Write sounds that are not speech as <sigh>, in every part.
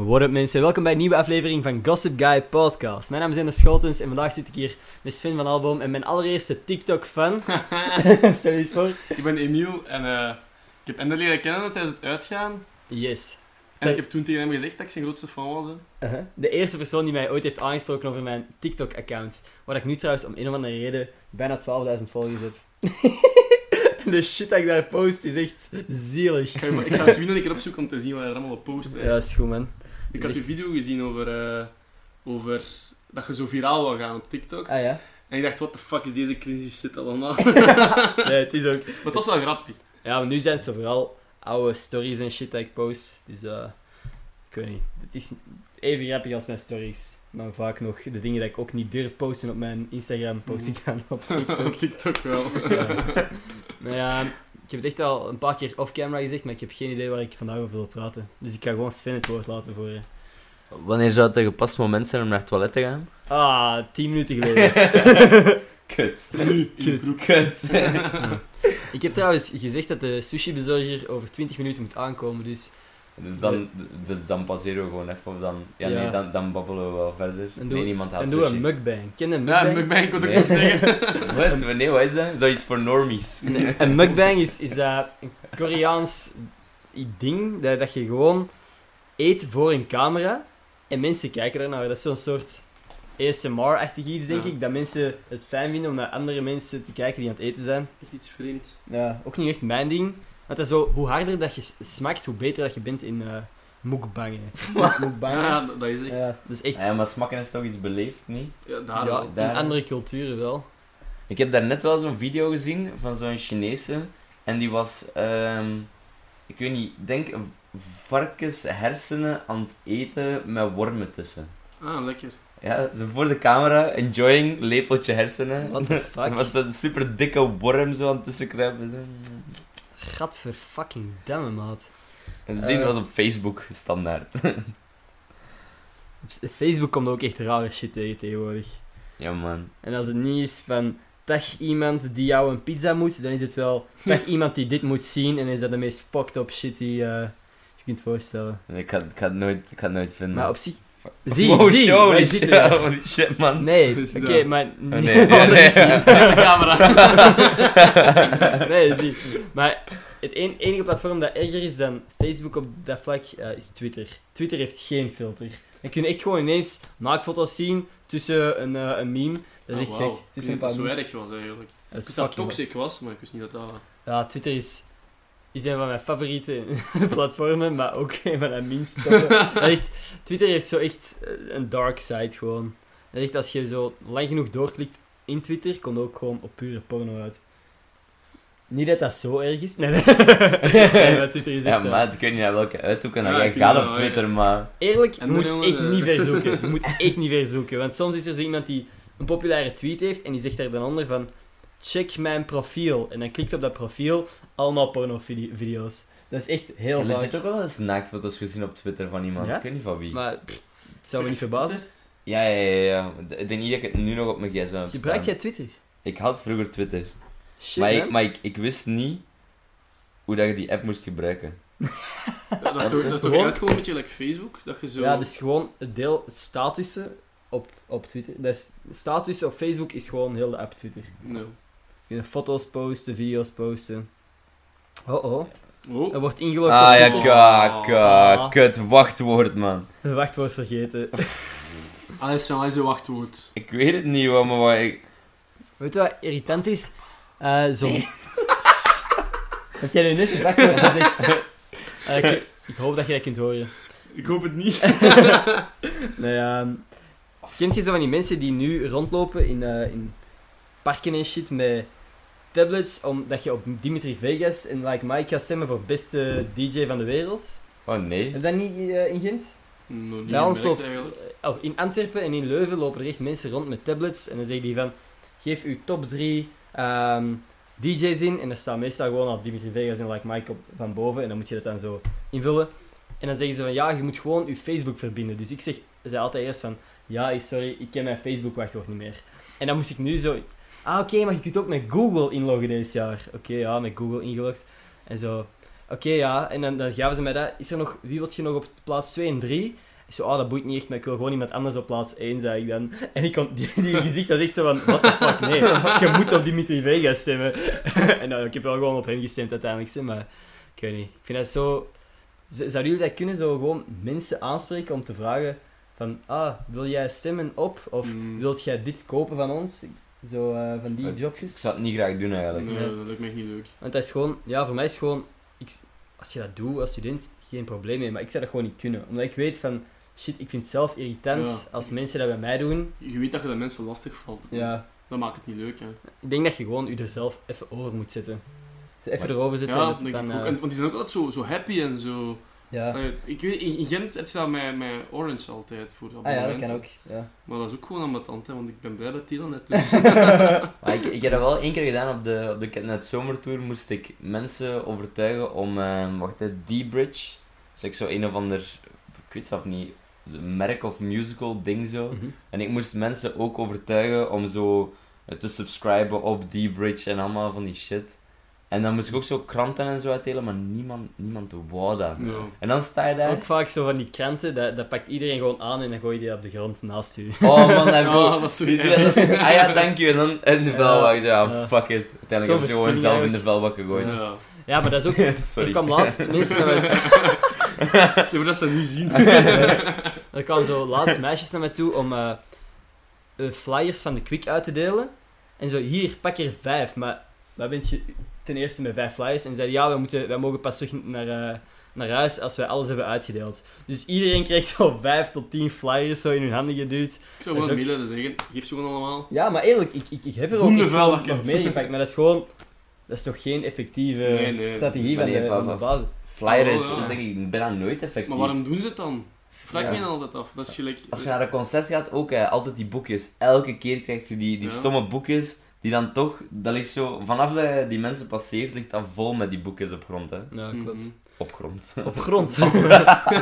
What up mensen, welkom bij een nieuwe aflevering van Gossip Guy Podcast. Mijn naam is Ender Scholtens en vandaag zit ik hier met Sven van Alboom en mijn allereerste <laughs> TikTok-fan. Stel je eens voor. Ik ben Emiel en eh, ik heb Ender leren kennen tijdens het uitgaan. Yes. En ik heb toen tegen hem gezegd dat ik zijn grootste fan was. Hè. Uh-huh. De eerste persoon die mij ooit heeft aangesproken over mijn TikTok-account. Waar ik nu trouwens om een of andere reden bijna 12.000 volgers heb. <laughs> De shit dat ik daar post is echt zielig. <laughs> Ik ga, ik ga Sven een keer opzoeken om te zien wat hij er allemaal op post. hè. Ja, dat is goed man. ik had je video gezien over, eh, over dat je zo viraal wil gaan op TikTok. Ah <laughs> ja? En ik dacht, wat de fuck is deze cringe shit allemaal? <laughs> Nee, het is ook. maar het was wel grappig. Ja, maar nu zijn ze vooral oude stories en shit dat ik post. Dus eh, ik weet niet. Het is even grappig als mijn stories. Maar vaak nog de dingen dat ik ook niet durf posten op mijn Instagram, post ik dan op <laughs> TikTok. <laughs> op TikTok wel. Ja. Nou ja, ik heb het echt al een paar keer off-camera gezegd, maar ik heb geen idee waar ik vandaag over wil praten. Dus ik ga gewoon Sven het woord laten voor eh, je. Wanneer zou het een gepast moment zijn om naar het toilet te <laughs> gaan? Ah, 10 minuten geleden. <laughs> Kut. Nu, in de broek. Kut. ik heb trouwens gezegd dat de sushi-bezorger over 20 minuten moet aankomen, dus... Dus dan, dus dan passeren we gewoon even, of dan... Ja, Ja. nee, dan, dan babbelen we wel verder. En doe- nee, niemand haalt En doe sushi. een mukbang. Ken je een Ja, mukbang? mukbang kon ik Nee. ook <laughs> zeggen. <laughs> Wat? Nee, wat is dat? Is dat iets voor normies? Nee, Een mukbang is, is dat een Koreaans i- ding dat, dat je gewoon eet voor een camera en mensen kijken ernaar. Dat is zo'n soort ASMR-achtig iets, denk Ja. ik. Dat mensen het fijn vinden om naar andere mensen te kijken die aan het eten zijn. Echt iets vreemd. Ja, ook niet echt mijn ding. Want dat is zo, hoe harder dat je s- smaakt, hoe beter dat je bent in eh mukbangen. <laughs> mukbangen. Ja, Ja. dat, dat is echt... dat is echt... Ja, maar smakken is toch iets beleefd, niet? Ja, daar Ja, wel. in daar- andere culturen wel. Ik heb daarnet wel zo'n video gezien van zo'n Chinese. En die was, ehm, ik weet niet, ik denk varkenshersenen aan het eten met wormen tussen. Ah, lekker. Ja, ze voor de camera, enjoying, lepeltje hersenen. What <laughs> the Dat was fuck? zo'n super dikke worm zo aan het tussenkruipen. Zo. Gadverfucking damme, maat. En ze zien Eh. was op Facebook standaard. Op Facebook komt ook echt rare shit tegen tegenwoordig. ja man. En als het niet is van dag iemand die jou een pizza moet, dan is het <laughs> wel dag iemand die dit moet zien en is dat de meest fucked up shit die eh, je kunt voorstellen. Ik ga, ik ga het nooit, ik ga het nooit vinden. Maar op zich... Fuck. Zie, Wow, zie, show, wij holy zitten shit, er. holy shit, man. <laughs> Nee, Dus oké, dat. maar... nee, <laughs> Oh, nee, maar <laughs> nee. zie. De camera. nee, zie. Maar het een- enige platform dat erger is dan Facebook op dat vlak eh, is Twitter. Twitter heeft geen filter. Dan kun je echt gewoon ineens naaktfoto's zien tussen een, eh, een meme. Dat is echt gek. Ah, Ik wist niet dat het zo erg was eigenlijk. Dat Ik is wist dat het fucking- toxic was, maar ik wist niet dat dat... Ja, Twitter is, is een van mijn favoriete <laughs> platformen, maar ook een van mijn minst. <laughs> favoriete. Dat echt- Twitter heeft zo echt eh, een dark side gewoon. Dat echt, als je zo lang genoeg doorklikt in Twitter, komt ook gewoon op pure porno uit. Niet dat dat zo erg is. Nee, nee. <laughs> nee maar Twitter is Ja, echt... eh, maar ik weet niet naar welke uithoeken dat Ja, jij ik weet gaat wel, op ja. Twitter, maar... Eerlijk, je En moet dan echt jongen, niet eh. verzoeken. Je <laughs> moet echt niet verzoeken. Want soms is er zo iemand die een populaire tweet heeft en die zegt daar dan onder van... Check mijn profiel. En dan klikt op dat profiel, allemaal porno-video's. Dat is echt Ik heel heb vaak. legit ook wel eens naaktfoto's gezien op Twitter van iemand. Ja? Ik weet niet van wie. Maar pff, het zou me niet verbazen. Ja, ja, ja, ja. Ik denk niet dat ik het nu nog op mijn gsm heb Gebruik jij staan. Twitter? Ik had vroeger Twitter. Shit, maar man. ik, maar ik, ik wist niet hoe dat je die app moest gebruiken. Ja, dat is toch, dat is toch Gewoon- eigenlijk gewoon een beetje like Facebook? Dat je zo... Ja, dus gewoon het deel statussen op, op Twitter. Dus statussen op Facebook is gewoon heel de app Twitter. No. Je kunt foto's posten, video's posten. Oh oh, Oh. er wordt ingelogd op Ah ja, Twitter. ka, Ah. ka, kut, wachtwoord man. Een wachtwoord vergeten. Ah, Alles van mij is een wachtwoord. Ik weet het niet, hoor, maar wat ik... Weet je wat irritant is? Eh zo. <laughs> Heb jij nu net het wachtwoord gezegd? <laughs> Eh, ik, ik hoop dat je dat kunt horen. Ik hoop het niet. <laughs> Nee, ehm, kent je zo van die mensen die nu rondlopen in, eh, in parken en shit met tablets, omdat je op Dimitri Vegas en Like Mike gaat stemmen voor beste DJ van de wereld? Oh nee. Heb je dat niet eh, in Gent? No, niet Bij ons gemerkt loopt- eigenlijk. Oh, in Antwerpen en in Leuven lopen er echt mensen rond met tablets en dan zeggen die van, geef uw top 3 DJ's in en er staan meestal gewoon al Dimitri Vegas en Like Mike op, van boven en dan moet je dat dan zo invullen. En dan zeggen ze van, ja, je moet gewoon je Facebook verbinden. Dus ik zeg, zei altijd eerst van, ja, ik- sorry, ik ken mijn Facebook wachtwoord niet meer. En dan moest ik nu zo, ah oké, maar je kunt ook met Google inloggen deze jaar. Oké, ja, met Google ingelogd en zo. Oké, ja, en dan, dan gaven ze mij dat. Is er nog, wie wilt je nog op plaats 2 en 3? Ik zo, ah, dat boeit niet echt, maar ik wil gewoon iemand anders op plaats 1, zei ik dan. <laughs> En ik kon, die, die gezicht was echt zo van, what the fuck, nee. Je moet op Dimitri Vegas stemmen. <laughs> en dan, ik heb wel gewoon op hen gestemd uiteindelijk, hè, maar ik weet niet. Ik vind dat zo... Z- Zouden jullie dat kunnen, zo gewoon mensen aanspreken om te vragen van, ah, wil jij stemmen op? Of Mm. wilt jij dit kopen van ons? Zo, eh, van die Maar- jobjes. Ik zou het niet graag doen eigenlijk. Nee, dat lijkt me echt niet leuk. Want dat is gewoon, ja, voor mij is gewoon, ik, als je dat doet als student, geen probleem mee. Maar ik zou dat gewoon niet kunnen. Omdat ik weet van, shit, ik vind het zelf irritant Ja. als mensen dat bij mij doen. Je weet dat je de mensen lastig valt. Ja, Dat maakt het niet leuk, hè. ik denk dat je gewoon je er zelf even over moet zetten. Dus even Maar- erover zitten. Ja, en dat dat denk ik dan, ook. eh, En- want die zijn ook altijd zo, zo happy en zo. ja. Eh, ik weet, in, in Gent heb je dat met, met Orange altijd voor Ah ja, dat abonnementen. kan ook. Ja. Maar dat is ook gewoon aan mijn tante, want ik ben blij dat die <laughs> dan net tussen Maar ik, ik heb dat wel één keer gedaan op de, op de Catnet Zomertour. Moest ik mensen overtuigen om, ehm, wacht, hè, D-Bridge. Dus ik zo een of ander, ik weet zelf niet, merk of musical ding zo. Mhm. En ik moest mensen ook overtuigen om zo eh, te subscriben op D-Bridge en allemaal van die shit. En dan moest ik ook zo kranten en zo uitdelen, maar niemand, niemand wou dat. Ja. En dan sta je daar. Ook vaak zo van die kranten, dat, dat pakt iedereen gewoon aan en dan gooi je die op de grond naast je. <laughs> Oh man, <laughs> dat heb ik Ah, ook. dat is zo Die erg. doen dat- <laughs> Ah ja, dank je. En dan in de Ja, vuilbak. Ja, ja. fuck it. Uiteindelijk Zo'n heb ik ze gewoon verspilling zelf in de vuilbak <laughs> gegooid. Ja. <laughs> Ja, maar dat is ook... Er Sorry. kwam laatst mensen naar <laughs> mij Zeg maar dat ze dat nu zien. <laughs> Er kwamen zo laatst meisjes naar mij toe om eh, eh, flyers van de Kwik uit te delen. En zo, hier, pak er vijf. Maar waar bent je ten eerste met vijf flyers? En ze zeiden, ja, wij, moeten, wij mogen pas terug naar, eh, naar huis als wij alles hebben uitgedeeld. Dus iedereen kreeg zo <laughs> vijf tot tien flyers zo in hun handen geduwd. Ik zou Dat is gewoon ook- willen zeggen, geef ze gewoon allemaal. Ja, maar eerlijk, ik, ik, ik heb er ook Doen de ik heb velken. nog meer gepakt. Maar dat is gewoon... Dat is toch geen effectieve Nee, nee. strategie van Maar de, nee, van de van- basis. Flyer is, Oh, ja. is denk ik bijna nooit effectief. Maar waarom doen ze het dan? Vraag Ja. me dan altijd af. Dat is gelijk... Als je naar een concert gaat, ook hè, altijd die boekjes. Elke keer krijg je die, die Ja. stomme boekjes, die dan toch, dat ligt zo, vanaf dat je die mensen passeert, ligt dat vol met die boekjes op grond. Hè. Ja, Mhm. klopt. Op grond. <laughs> Op grond.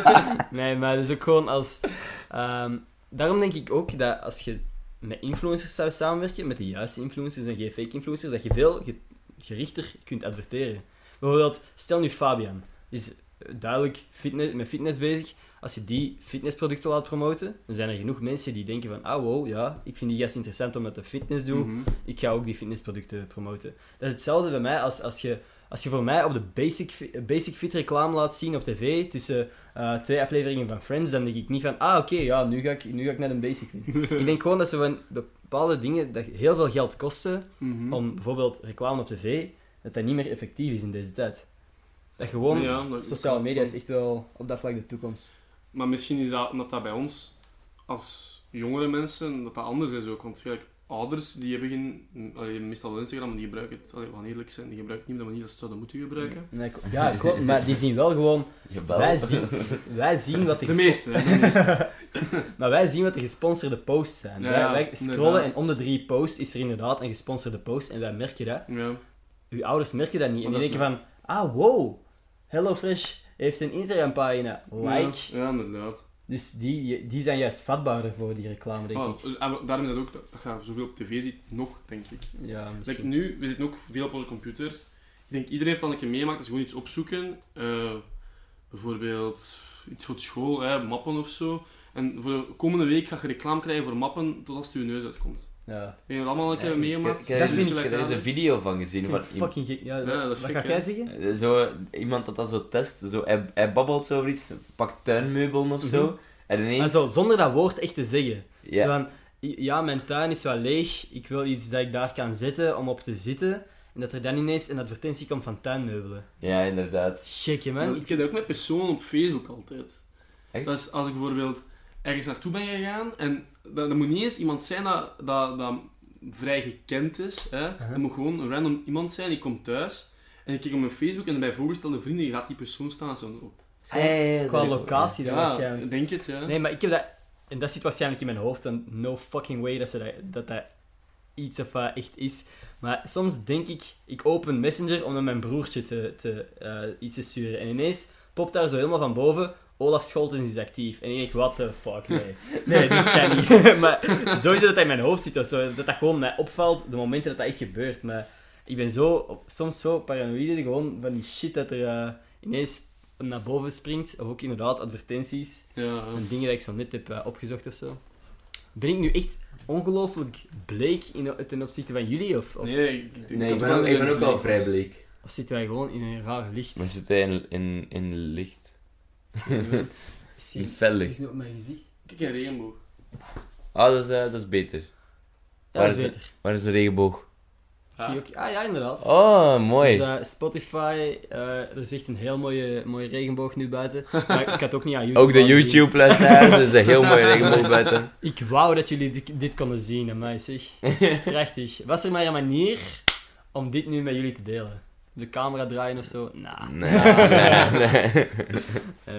<laughs> nee, maar dus ook gewoon als. ehm, daarom denk ik ook dat als je met influencers zou samenwerken, met de juiste influencers en geen fake influencers, dat je veel ge- gerichter kunt adverteren. Bijvoorbeeld, stel nu Fabian, die is eh, duidelijk fitness, met fitness bezig. Als je die fitnessproducten laat promoten, dan zijn er genoeg mensen die denken van, ah wow, ja, ik vind die gast interessant omdat hij fitness doet, Mhm. ik ga ook die fitnessproducten promoten. Dat is hetzelfde bij mij als, als, je, als je voor mij op de basic, Fi- eh, basic fit reclame laat zien op tv tussen eh, twee afleveringen van Friends, dan denk ik niet van, ah oké, ja, nu ga, ik, nu ga ik naar een basic <laughs> fit. ik denk gewoon dat ze van bepaalde dingen dat heel veel geld kosten Mhm. om bijvoorbeeld reclame op tv, dat dat niet meer effectief is in deze tijd. Dat gewoon, Nee, ja, dat- sociale media is echt wel op dat vlak de toekomst. Maar misschien is dat omdat dat bij ons, als jongere mensen, dat dat anders is ook. Want gelijk, ouders, die hebben geen... allee, meestal wel Instagram, maar die gebruiken het... Allee, we gaan eerlijk zijn, die gebruiken het niet op de manier dat ze het zouden moeten gebruiken. Nee, kl- Ja, klopt, maar die zien wel gewoon, Jawel. wij zien, wij zien <laughs> wat er De meeste, hè, <laughs> de meeste. Maar wij zien wat de gesponsorde posts zijn. Ja, wij, wij scrollen inderdaad. en om de drie posts is er inderdaad een gesponsorde post en wij merken dat. Ja. Uw ouders merken dat niet. En die Maar dat is denken van, ah wow, HelloFresh heeft een Instagram pagina. Like. Ja, ja, inderdaad. Dus die, die zijn juist vatbaarder voor die reclame, denk Ah, ik. dus- en daarom is dat ook dat, dat je zoveel op tv ziet, nog, denk ik. Ja, Like misschien. nu, we zitten ook veel op onze computer. Ik denk iedereen heeft al een keer meemaakt, dat ze gewoon iets opzoeken. Eh, bijvoorbeeld iets voor het school, hè, mappen of zo. En voor de komende week ga je reclame krijgen voor mappen totdat het je neus uitkomt. <laughs> Ja. Heb je dat allemaal een keer Ja, meegemaakt? Ik heb Dat ik vind heb er eens een video van gezien. Vind ik Waar iemand- Fucking gek. Ja, dat wat is gek, ga hè. jij zeggen? eh, zo, iemand dat dat zo test, zo, hij, hij babbelt zo over iets, pakt tuinmeubelen of Mhm. zo. En Maar ineens... zo, zonder dat woord echt te zeggen. ja. Zo van, i- ja, mijn tuin is wel leeg. Ik wil iets dat ik daar kan zetten om op te zitten. En dat er dan ineens een advertentie komt van tuinmeubelen. ja, inderdaad. Gekke man. Man, ik heb dat ook met personen op Facebook altijd. Echt? Dat is Dus als ik bijvoorbeeld ergens naartoe ben gegaan en dat, dat moet niet eens iemand zijn dat, dat, dat vrij gekend is. Hè? Dat moet gewoon een random iemand zijn die komt thuis en ik kijk op mijn Facebook en bij voorgestelde vrienden gaat die persoon staan. Zo, op. Ah, ja, ja, ja, Qua dat- locatie dan ja, waarschijnlijk. ik denk het, ja. Nee, maar ik heb dat... En dat zit waarschijnlijk in mijn hoofd. En no fucking way dat ze dat, dat, dat iets of wat echt is. Maar soms denk ik... Ik open Messenger om naar mijn broertje te, te, eh, iets te sturen. En ineens popt daar zo helemaal van boven... Olaf Scholten is actief. En ik denk, what the fuck, nee. Nee, dit kan niet. <laughs> maar sowieso dat dat in mijn hoofd zit of zo. Dat dat gewoon mij opvalt, de momenten dat dat echt gebeurt. Maar ik ben zo, op- soms zo paranoïde gewoon van die shit dat er eh, ineens naar boven springt, of ook inderdaad advertenties Ja, en dingen dat ik zo net heb eh, opgezocht of zo. Ben ik nu echt ongelooflijk bleek in, ten opzichte van jullie? Of, of, nee, ik, ik- Nee, had ik ben ook, ik ben een- ook al vrij bleek. of zitten wij gewoon in een raar licht? Maar zit hij in, in, in licht? Zie <laughs> In fel ik licht. nu op mijn gezicht? Kijk, een regenboog. Ah, dat is, eh, dat is beter. Ja, Waar dat is is het? beter. Waar is de regenboog? Ah. Zie je ook? Ah ja, inderdaad. Oh, mooi. Dus eh, Spotify, eh, er is echt een heel mooie, mooie regenboog nu <laughs> buiten. Maar ik had ook niet aan YouTube. Ook de laten zien. <laughs> YouTube-luisteraars, dat is een heel mooie regenboog buiten. Ik wou dat jullie dit, dit konden zien, amai <laughs> zeg. Prachtig. Was er maar een manier om dit nu met jullie te delen? De camera draaien of zo? Nah. Nee, <laughs> nee, nee. <laughs> Eh,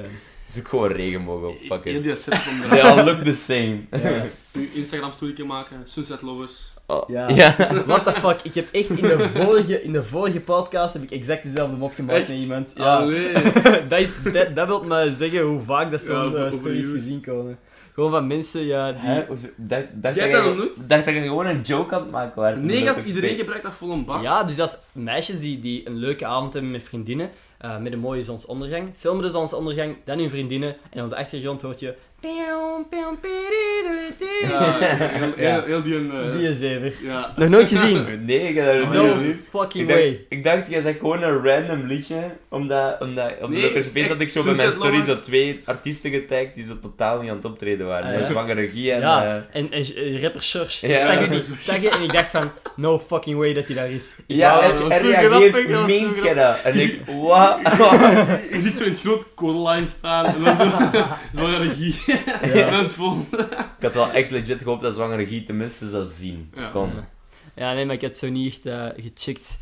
Zoek gewoon regenboog op, fuck E- Heel it. die set <laughs> van They all look the same. ja. Nu Instagram story maken, Sunset Lovers. Oh, Ja. <laughs> ja. What the fuck? Ik heb echt in de vorige, in de vorige podcast heb ik exact dezelfde mop gemaakt Echt? met iemand. Ja. <laughs> Allee. Oh. <laughs> dat, is, dat, dat wil maar zeggen hoe vaak dat Ja, zo'n eh, stories overused. gezien komen. Gewoon van mensen ja, die... Hè? Hoezo? Dacht, dacht Jij dat hebt dat je- ontmoet? dacht dat je gewoon een joke aan het maken was. Nee, gast, iedereen gebruikt dat vol een bak. Ja, dus als meisjes die, die een leuke avond hebben met vriendinnen, eh, met een mooie zonsondergang, filmen de zonsondergang, dan hun vriendinnen, en op de achtergrond hoort je... Peom, peom, peridiridu. Ja, heel, heel, Ja. heel die een... eh, <laughs> Die is even. Ja. Nog nooit <laughs> gezien. Nee, ik heb dat nog niet Oh, No gezien. fucking Ik dacht, way. ik dacht, jij zegt gewoon een random liedje, omdat, omdat, omdat Nee, ik er zo bezig echt, had ik zo bij mijn Sunset stories Lovers. dat twee artiesten getagd die zo totaal niet aan het optreden waren. Ah, Dat ja. is Zwange regie en... eh, Ja, en, en eh, rapper George. Ja. Ik zag je die taggen en ik dacht van, no fucking way dat hij daar is. Ik ja, Ja, en, dat was en zo grappig, dat reageert, was meent zo jij dat? <laughs> En ik, wat? <laughs> Je ziet zo in het groot Codeline staan en dan zo... <laughs> Zo'n regie. Ja. En het volgende. Ik had wel echt legit gehoopt dat Zwange regie tenminste zou zien. Ja. Kom. Ja. Ja, nee, maar ik had zo niet echt eh, gecheckt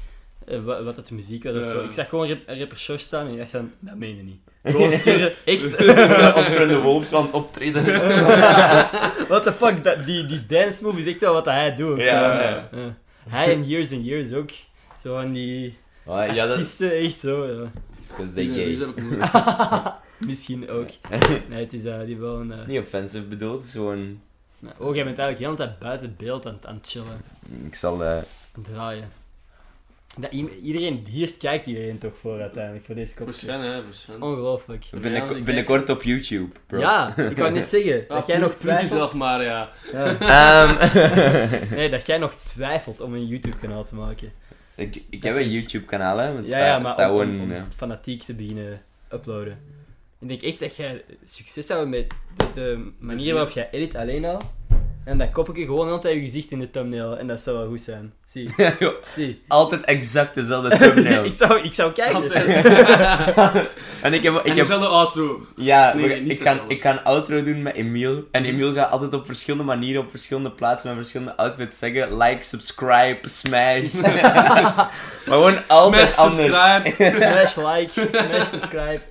eh, wat, wat dat de muziek was of Ja. zo. Ik zag gewoon rap, rapper George staan en ik dacht van, dat meen je <laughs> niet. Gewoon <laughs> sturen, echt. Als er een wolfs aan het <laughs> optreden is. What the fuck, dat, die, die dance move is echt wel wat hij doet. Ja, Eh, eh. hij en Years and Years ook. Zo van die Ah, ja, dat is... artiesten, echt zo. ja. Because they Dus, eh, gay. dus heb <laughs> ik nooit. Misschien ook. Nee, het is eh, die wel een... <laughs> Het is eh, niet offensive bedoeld, het is gewoon... oh, jij bent eigenlijk heel de tijd buiten beeld aan, het- aan het chillen, Ik zal... eh, aan het draaien. Dat, i- iedereen, hier kijkt iedereen toch voor uiteindelijk, voor deze Voor kopjes. Sven, hè. Voor Het is Sven. ongelooflijk. binnen- Ja, ik binnenkort op YouTube, bro. Ja, ik wou <laughs> net zeggen. Ja, dat jij proef- <laughs> nog proef twijfelt. jezelf maar, ja. Ja. <laughs> Ehm, Nee, dat jij nog twijfelt om een YouTube-kanaal te maken. ik, ik heb een YouTube-kanaal, hè. maar Het Ja, staat- ja, het maar staat om, gewoon... om- om ja. fanatiek te beginnen uploaden. Ik denk echt dat jij succes zou hebben met de, de manier waarop jij edit alleen al. En dan kop ik je gewoon altijd je gezicht in de thumbnail. En dat zou wel goed zijn. Zie, Yo, zie. eh, <laughs> Altijd exact dezelfde <laughs> thumbnail. ik, zou, <laughs> ik zou kijken. Altijd. en ik heb... Ik En heb dezelfde outro. ja, Nee, we- niet ik, ga, dezelfde. Mhm. ik ga een outro doen met Emiel. En Emiel gaat altijd op verschillende manieren, op verschillende plaatsen, met verschillende outfits zeggen... Like, subscribe, <laughs> smash. maar gewoon altijd Smash, anders. subscribe. <laughs> <laughs> Smash like, smash subscribe.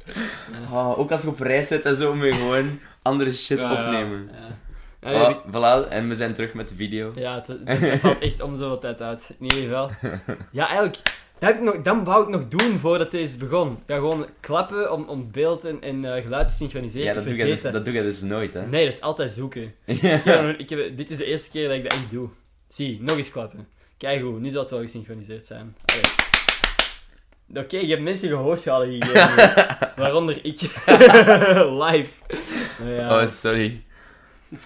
Oh, ook als je op reis zit en zo, moet je gewoon andere shit Ja, ja. opnemen. Ja, Ah, Ja, nee, voilà, en we zijn terug met de video. Ja, het, het valt echt om zoveel tijd uit. In ieder geval. Ja, eigenlijk, dat, heb ik nog, dat wou ik nog doen voordat deze begon. Ja, gewoon klappen om, om beeld en, en eh, geluid te synchroniseren. Ja, Ik dat doe, jij vergeet dus, dat doe jij dus nooit, hè? Nee, dat is altijd zoeken. <laughs> Ik heb, ik heb- dit is de eerste keer dat ik dat echt doe. Zie, nog eens klappen. Kijk hoe, nu zal het wel gesynchroniseerd zijn. Allee. Oké, je hebt mensen gehoorschade <laughs> gegeven. waaronder ik. Live. Nou ja. Oh, sorry.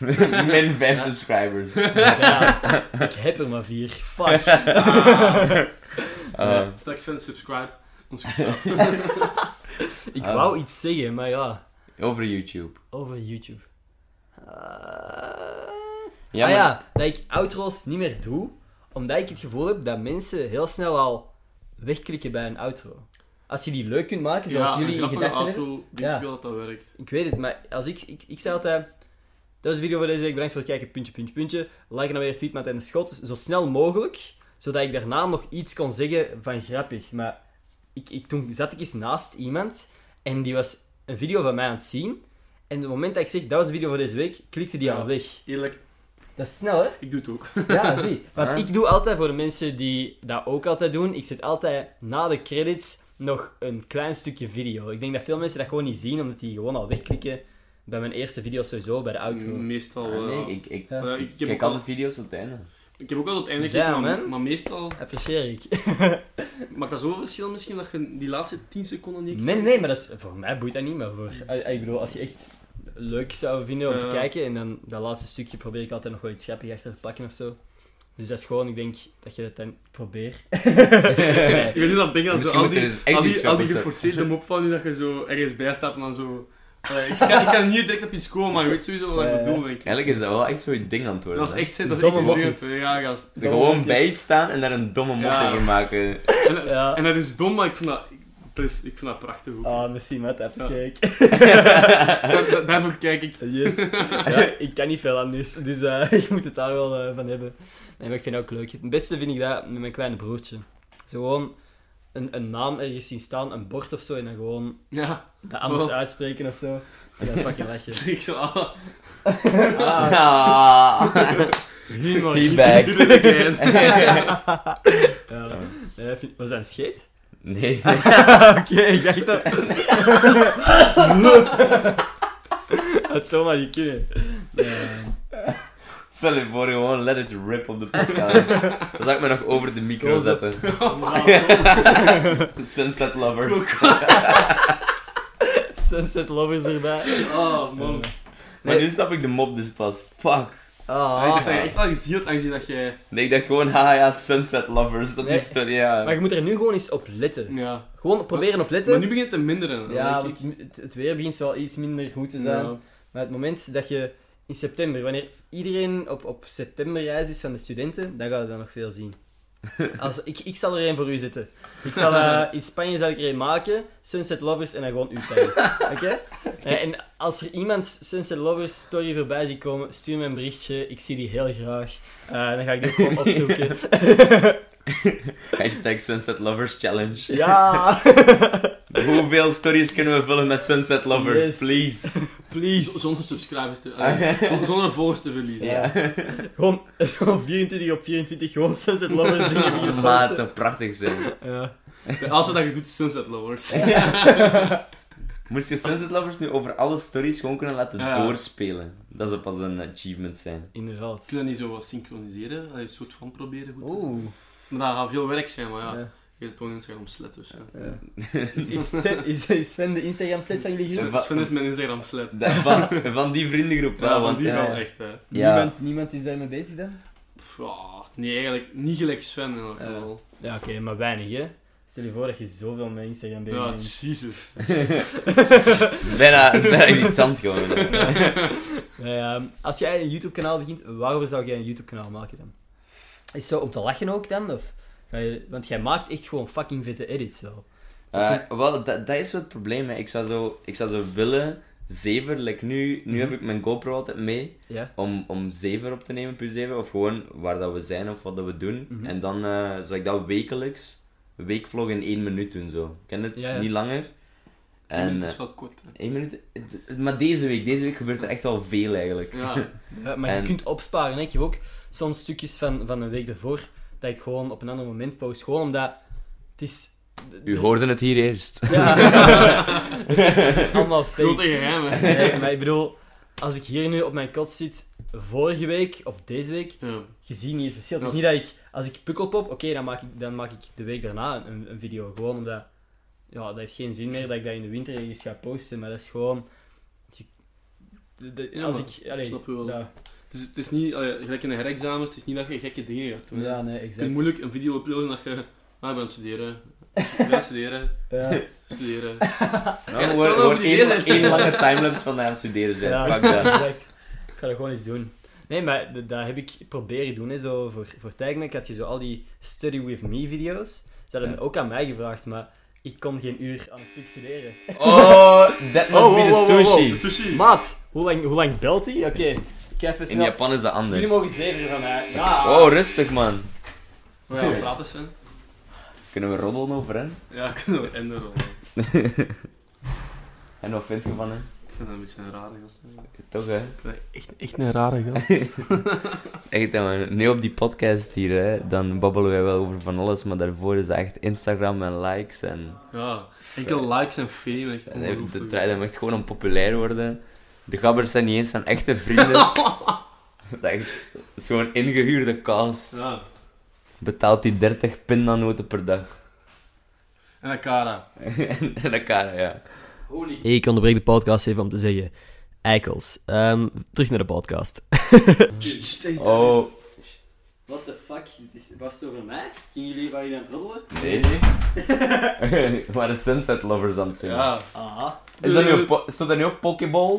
<laughs> Min 5 subscribers. Ja, ik heb er maar vier. <laughs> Fuck. Ah. Straks Sven, subscribe. <laughs> Ik Ah. wou iets zeggen, maar ja. over YouTube. Over YouTube. Eh, Ja, ah maar- ja, dat ik outro's niet meer doe, omdat ik het gevoel heb dat mensen heel snel al wegklikken bij een outro. Als je die leuk kunt maken, zoals Ja, jullie een in grappige gedachten hebben. outro. Denk Ja. ik wel dat dat werkt. Ik weet het, maar als ik, ik, ik zei altijd... Dat is de video voor deze week, bedankt voor het kijken, puntje, puntje, puntje. Like en dan weer tweet met en schot, Dus zo snel mogelijk. Zodat ik daarna nog iets kon zeggen van grappig. Maar ik, ik, toen zat ik eens naast iemand en die was een video van mij aan het zien. En op het moment dat ik zeg, dat was de video voor deze week, klikte die Ja. al weg. Eerlijk, Dat is snel, hè? ik doe het ook. Ja, zie. Want Ja. ik doe altijd voor de mensen die dat ook altijd doen, ik zet altijd na de credits nog een klein stukje video. Ik denk dat veel mensen dat gewoon niet zien, omdat die gewoon al wegklikken bij mijn eerste video sowieso, bij de outro. Meestal Ah, wel. nee, ik, ik, Ja. Eh, ik ik, heb ook kijk al, alle video's tot het einde. ik heb ook al het einde Damn, gekeken, maar, man. maar meestal... Apprecieer ik. Maakt dat zoveel verschil misschien dat je die laatste 10 seconden niet Nee, nee, maar dat is, voor mij boeit dat niet. Maar voor, eh, eh, ik bedoel, als je echt leuk zou vinden om te Ja. kijken en dan dat laatste stukje probeer ik altijd nog wel iets grappigs achter te pakken of zo. Dus dat is gewoon, ik denk dat je dat dan <laughs> probeert. <laughs> Ik weet niet dat dingen dat zo Misschien al moet die, er eens echt al iets die, al die grappigs zijn. geforceerde mop van die dat je zo ergens bij staat en dan zo... Allee, ik, kan, ik kan niet direct op iets komen, maar je weet sowieso wat ik Ja, ja. bedoel, denk ik. Eigenlijk is dat wel echt zo'n ding aan het worden. Dat is echt, dat is echt Domme een mopjes. durf, ja, gast. hè. Er gewoon bij iets staan en daar een domme mop Ja. over maken. En, Ja. en dat is dom, maar ik vind dat, dat is- ik vind dat prachtig ook. Ah, misschien met dat Ja. zeker. Daar- daar- daarvoor kijk ik. Yes. ja, ik kan niet veel anders, dus eh, <laughs> ik moet het daar wel eh, van hebben. Nee, maar ik vind dat ook leuk. Het beste vind ik dat met mijn kleine broertje. Zo gewoon een, een naam ergens zien staan, een bord of zo, en dan gewoon Ja, <laughs> dat anders Wow. uitspreken of zo. En dan fucking <laughs> lachen. ik zo... Ah, <laughs> Ah. Humor. Feedback. doe dat again. <laughs> <laughs> Ja. Nee, dat vind- was dat een scheet? <laughs> Nee. <laughs> Oké, ik dacht <laughs> dat... Het zou maar niet kunnen. Nee. eh, Stel je voor, gewoon let it rip op de podcast. Dan zou ik me nog over de micro Close-up. zetten. Oh, Ah. Wauw. Sunset lovers. Sunset Lovers erbij. Oh, man. Maar nu snap ik de mop dus pas. Fuck. Ah, ik dacht dat je Ah. echt al gezield, aangezien dat je... Nee, ik dacht gewoon, haha, ja, sunset lovers. Dat Nee. is toch, ja. Maar je moet er nu gewoon eens op letten. Ja. Gewoon proberen op letten. Maar nu begint het te minderen. Ja, denk ik. want het, het weer begint wel iets minder goed te zijn. Ja. Maar het moment dat je in september, wanneer iedereen op, op septemberreis is van de studenten, dan gaan we dat nog veel <laughs> zien. Als, ik, ik zal er één voor u zetten. Ik zal, eh, in Spanje zal ik er één maken, Sunset Lovers, en dan gewoon u <laughs> taggen. Oké? Eh, en als er iemand Sunset Lovers story voorbij ziet komen, stuur me een berichtje. Ik zie die heel graag. Eh, dan ga ik die gewoon <laughs> opzoeken. Hashtag sunset lovers challenge. ja! <laughs> Hoeveel stories kunnen we vullen met sunset lovers, Yes. please? Please! Z- Zonder subscribers te... eh, zon- zonder volgers te verliezen. <laughs> Ja. Gewoon <laughs> 24 op 24, gewoon Sunset Lovers dingen die je Maat, posten. dat prachtig <laughs> zijn. Ja. Als wat dat je doet, is Sunset Lovers. <laughs> Moest je sunset lovers nu over alle stories gewoon kunnen laten Ja. doorspelen? Dat zou pas een achievement zijn. Inderdaad. Kun je dat niet zo wat synchroniseren? Allee, Een soort van proberen goed te zijn. Oeh. Maar dat gaat veel werk zijn, maar ja. Ja. Je zit gewoon Instagram slet, dus ja. Ja. Is, is, Sven- is, is Sven de Instagram-slet van jullie groep? Sven, Sven is mijn Instagram slet. Dat- <laughs> van, van die vriendengroep wel, Ja, want want die ja. wel echt, hè. Ja. Niemand, niemand is daarmee bezig dan? Pff, ah, nee, eigenlijk niet gelijk Sven in elk Ja. geval. Ja, oké, maar weinig hè. Stel je voor dat je zoveel met Instagram bezig Ja, bent. Jesus. Het is bijna, het is bijna irritant gewoon. <laughs> Nee, ehm, als jij een YouTube-kanaal begint, waarom zou jij een YouTube-kanaal maken dan? Is zo om te lachen ook dan? Of ga je, want jij maakt echt gewoon fucking vette edits zo. Eh, wel, dat, dat is zo het probleem. Hè. Ik, zou zo, ik zou zo willen zever, like nu, nu Mhm. heb ik mijn GoPro altijd mee Ja? om, om zever op te nemen, plus zever, of gewoon waar dat we zijn of wat dat we doen. Mhm. En dan eh, zou ik dat wekelijks, een weekvlog in één minuut doen zo. Ken het? Ja, ja. Niet langer. En, Het eh, is wel kort, hè. één minuut, eh, maar deze week, deze week gebeurt er echt al veel eigenlijk. Ja. Ja, maar En- je kunt opsparen. Hè? Ik heb ook soms stukjes van, van een week ervoor dat ik gewoon op een ander moment post. Gewoon omdat het is. U hoorde het hier eerst. Ja, het, is, <laughs> het is allemaal fake. Grote geheim, hè. Nee, maar ik bedoel, als ik hier nu op mijn kot zit, vorige week of deze week, Ja. je ziet niet het verschil. Het is Dat niet dat ik, als ik pukkelpop, oké, dan, maak ik- dan maak ik de week daarna een, een video. Gewoon omdat, ja, dat heeft geen zin meer dat ik dat in de winter ergens ga posten, maar dat is gewoon... je- de- de- Ja, als maar, ik, allee, snap je wel. Ja, Het is, het is niet, allee, gelijk in de herexamens, het is niet dat je gekke dingen gaat doen. hè. ja, nee, het is exact. moeilijk een video uploaden dat je... Ah, ik ben aan het studeren. Ik ben aan het studeren. Ja. Studeren. Nou, Ja, het gewoon zal gewoon over die één, hele- één lange timelapse van aan het studeren zijn. Ja, Fuck dat. exact. Ik ga dat gewoon eens doen. Nee, maar d- dat heb ik proberen doen. Hè, zo voor, voor Tijgnek had je zo al die Study With Me video's. Ze hadden Ja. ook aan mij gevraagd, maar ik kon geen uur aan een stuk studeren. Oh, <laughs> that must Oh, be wow, the wow, wow, wow. <laughs> sushi. Sushi! Maat, hoe lang, hoe lang belt hij? Oké, ik ga even In snel... Japan is dat Jullie anders. mogen zeven van mij. Ja. Oh, rustig man. Oh ja, we praten Sven. Kunnen we roddelen over hem? Ja, <laughs> kunnen we enden wel. Ik En wat vind je van hem? vind dat een beetje een rare gast. hè. Toch hè? Ik vind dat echt, echt een rare gast. Echt, hè, man. nu op die podcast hier, hè, dan babbelen wij wel over van alles, maar daarvoor is dat echt Instagram en likes en... <laughs> Ja, enkel likes en fame, echt en hij- ongelooflijk. Dat draait hem echt gewoon om populair worden. De gabbers zijn niet eens zijn echte vrienden. dat, is echt, dat is gewoon ingehuurde cast. Ja, Betaalt die 30 pindanoten per dag. <laughs> En Akara. en elkaar, ja. Holy. Ik onderbreek de podcast even om te zeggen. Eikels. Ehm, terug naar de podcast. <laughs> Oh, What the fuck? was het over mij? Gingen jullie, waren jullie aan het roddelen? nee. <laughs> maar de Sunset Lovers aan het zingen. Ja. Ah. Is dat nu een po- stond er nu ook Pokéball?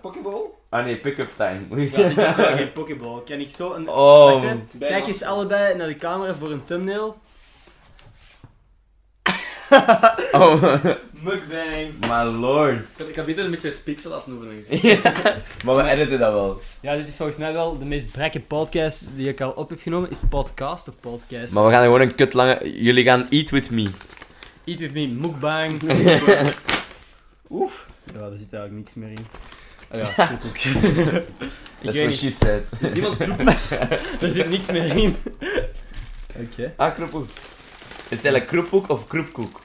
Pokeball? Ah nee, pick-up time. Ja, dit is wel <laughs> geen Pokeball. Kan ik zo een... <laughs> Oh, Wacht, hè. Kijk eens allebei naar de camera voor een thumbnail. oh, <laughs> Mukbang. my lord. Ik had- Ik had beter een beetje Speeksel laten doen. <laughs> denk ik. Ja, maar we editen dat wel. Ja, dit is volgens mij wel de meest brekke podcast die ik al op heb genomen. Is podcast of podcast? Maar we gaan gewoon een kut lange... Jullie gaan eat with me. Eat with me, mukbang. Oef. Ja, daar zit eigenlijk niks meer in. Ah <laughs> ja, koekoekjes. ik That's weet what niet, she said. Niemand roept <laughs> daar zit niks meer in. Oké. Ah, kroepkoek. Is het eigenlijk kroepkoek of kroepkoek?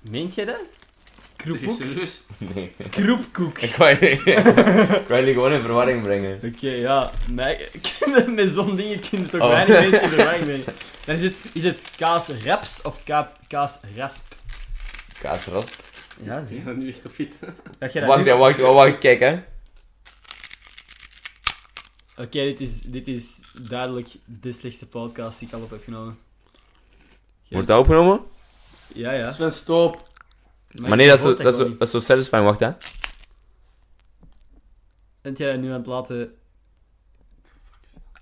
Meent jij dat? Zeg je Kroepkoek? serieus? Nee. Kroepkoek. <laughs> Ik wou jullie- ik wou jullie gewoon in verwarring brengen. Oké, ja. Mij- <laughs> Met zo'n dingen kunnen toch Oh. weinig mensen in de wang mee. Dan is het, is het kaasraps of ka kaasrasp? Kaasrasp. Ja, Zeg je dat nu echt op iets? Dat jij dat Wacht, nu- hè, wacht, oh, wacht, kijk hè. Oké, dit, is, dit is duidelijk de slechtste podcast die ik al op heb genomen. Wordt dat opgenomen? Ja, ja. <laughs> Sven, stop. Maar nee, dat is, zo, hoort dat, is gewoon zo, niet. dat is zo satisfying, wacht hè. Bent jij dat nu aan het laten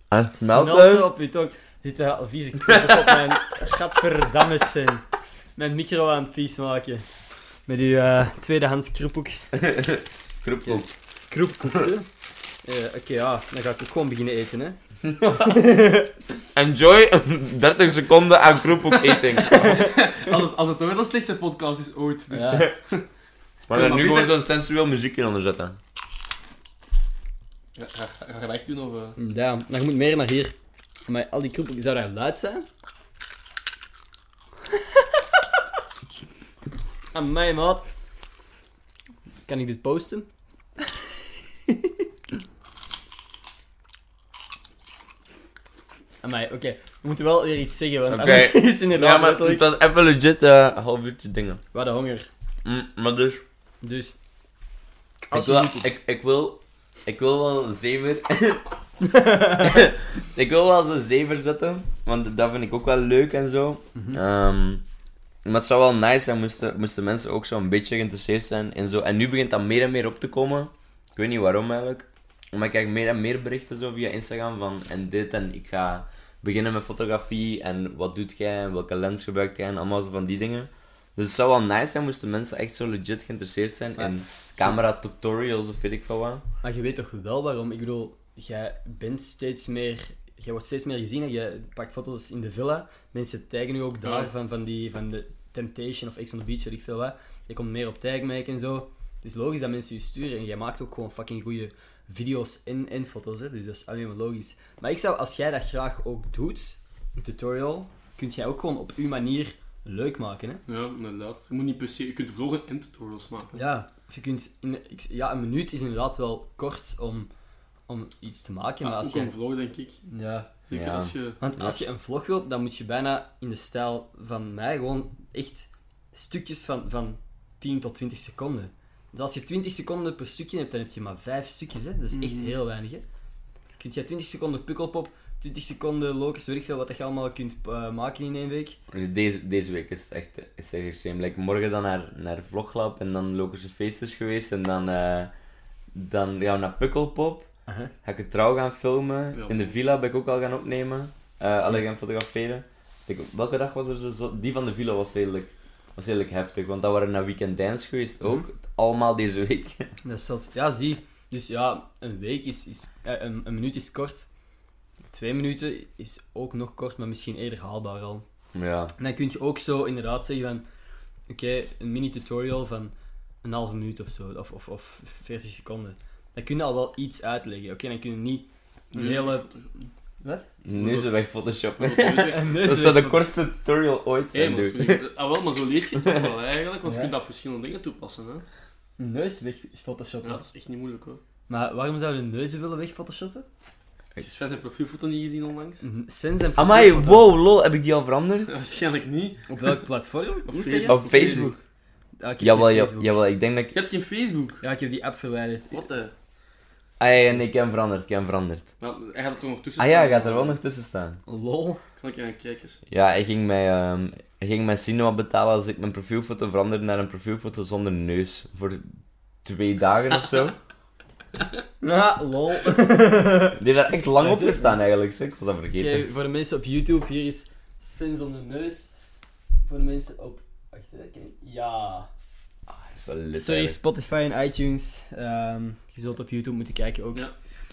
Aan het smelten Ah, smelten. op je tong? Zit er al vieze knoppen op mijn <laughs> gadverdamme Sven. Mijn micro aan het vies maken. Met uw eh, tweedehands kroephoek. Kroepkoek. Kroepkoekse. Eh Oké, ja. Dan ga ik ook gewoon beginnen eten, hè. Enjoy <laughs> 30 seconden aan kroepkoek <laughs> eating. Als het, als het toch wel de slechtste podcast is ooit. Dus. <laughs> Ja. Maar maar dan nu binnen- gewoon zo'n sensueel muziekje onder zetten. Ga, ga, ga je weg doen of... eh? Ja, maar je moet meer naar hier. Maar al die kroephoek, zou daar luid zijn? <laughs> Aan mij, maat. Kan ik dit posten? <laughs> Aan mij, oké. We moeten wel weer iets zeggen, want Oké. anders <laughs> is het inderdaad Ja, maar het letterlijk- was even legit eh, een half uurtje dingen. Wat een honger. Mm, maar dus, Dus... ik Als wil, je goed- ik, ik wil, ik wil wel <laughs> zever. ik wil wel zo'n zever zetten, want dat vind ik ook wel leuk en zo. Mhm. Ehm, maar het zou wel nice zijn moesten, moesten mensen ook zo'n beetje geïnteresseerd zijn en zo. En nu begint dat meer en meer op te komen. Ik weet niet waarom eigenlijk. Maar ik krijg meer en meer berichten zo via Instagram van en dit en ik ga beginnen met fotografie en wat doet jij en welke lens gebruikt jij en allemaal zo van die dingen. Dus het zou wel nice zijn moesten mensen echt zo legit geïnteresseerd zijn Maar- in camera tutorials of weet ik veel wat. Maar je weet toch wel waarom? Ik bedoel, jij bent steeds meer... Jij wordt steeds meer gezien en je pakt foto's in de villa. Mensen taggen nu ook daar Ja. van, van, die, van de Temptation of X on the Beach, weet ik veel wat. Je komt meer op tag maken en zo. Het is logisch dat mensen je sturen en jij maakt ook gewoon fucking goede video's en, en foto's, hè. dus dat is alleen maar logisch. Maar ik zou, als jij dat graag ook doet, een tutorial, kun jij ook gewoon op uw manier leuk maken, hè. Ja, inderdaad. Je moet niet per se... Je kunt vloggen en tutorials maken. Ja, of je kunt... In, ik- ja, een minuut is inderdaad wel kort om, om iets te maken, maar Ah, als ook je... een vlog, denk ik. Ja, Zeker Ja. als je... want Ja. als je een vlog wilt, dan moet je bijna in de stijl van mij gewoon echt stukjes van, van 10 tot 20 seconden. Dus als je 20 seconden per stukje hebt, dan heb je maar 5 stukjes. Hè? Dat is echt Mm. Mhm. heel weinig. Hè? Kun je 20 seconden pukkelpop, 20 seconden locus, weet ik veel wat dat je allemaal kunt eh, maken in één week. Deze, deze week is het echt, is het echt extreem. Like, morgen dan naar, naar Vloglab en dan Logische Feest is geweest en dan, eh, dan gaan we naar Pukkelpop. Aha. Ga ik het trouw gaan filmen. Uh-huh. Ja. In de villa ben ik ook al gaan opnemen. eh Zie. alleen gaan fotograferen. Ik denk, welke dag was er zo- zo? Die van de villa was redelijk, was redelijk heftig, want dat waren naar Weekend Dance geweest Uh-huh. ook. Allemaal deze week. <laughs> Dat is zot. Ja, zie. Dus ja, een week is... is eh, een, een minuut is kort. Twee minuten is ook nog kort, maar misschien eerder haalbaar al. ja. En dan kun je ook zo inderdaad zeggen van... Oké, een mini-tutorial van een halve minuut of zo, of, of, of 40 seconden. Dan kun je al wel iets uitleggen. Oké, dan kun je niet een <laughs> hele... Nu ze weg Photoshoppen. <laughs> Hé, Nee, Dat ze- zou de kortste tutorial ooit zijn, maar, dude. sorry. ah, wel, maar zo lees je het toch <laughs> wel eigenlijk, want Ja. je kunt dat op verschillende dingen toepassen. Hè? Neus weg photoshoppen. Ja, dat is echt niet moeilijk hoor. Maar waarom zouden neuzen willen weg photoshoppen? Heb je Sven zijn profielfoto niet gezien onlangs? <laughs> <laughs> Sven zijn Mm-hmm. Amai, foto's- wow, lol, heb ik die al veranderd? Waarschijnlijk niet. Op welk platform? Op Instagram? Ja, Op Facebook. Ah, ik heb Jawel, geen ja- Facebook. jawel, ik denk dat Je ik... hebt geen Facebook. Ja, ik heb die app verwijderd. Wat de? Ah ja, ja, nee, ik heb hem veranderd, ik heb hem veranderd. Nou, hij gaat er nog tussen Ah ja, hij gaat er wel nog tussen staan. Lol. Ik zal een keer gaan kijken. Ja, hij ging mij, ehm, hij ging mij cinema betalen als ik mijn profielfoto veranderde naar een profielfoto zonder neus. Voor twee dagen of zo. Ah, lol. <laughs> Oké, Die heeft daar echt lang op gestaan eigenlijk, zeg. ik was dat vergeten. voor de mensen op YouTube, hier is Sven zonder neus. Voor de mensen op... Wacht, dat kan ik- Ja. Dat is wel lit, Sorry, eigenlijk. Spotify en iTunes. Ehm, je zult op YouTube moeten kijken ook. Ja.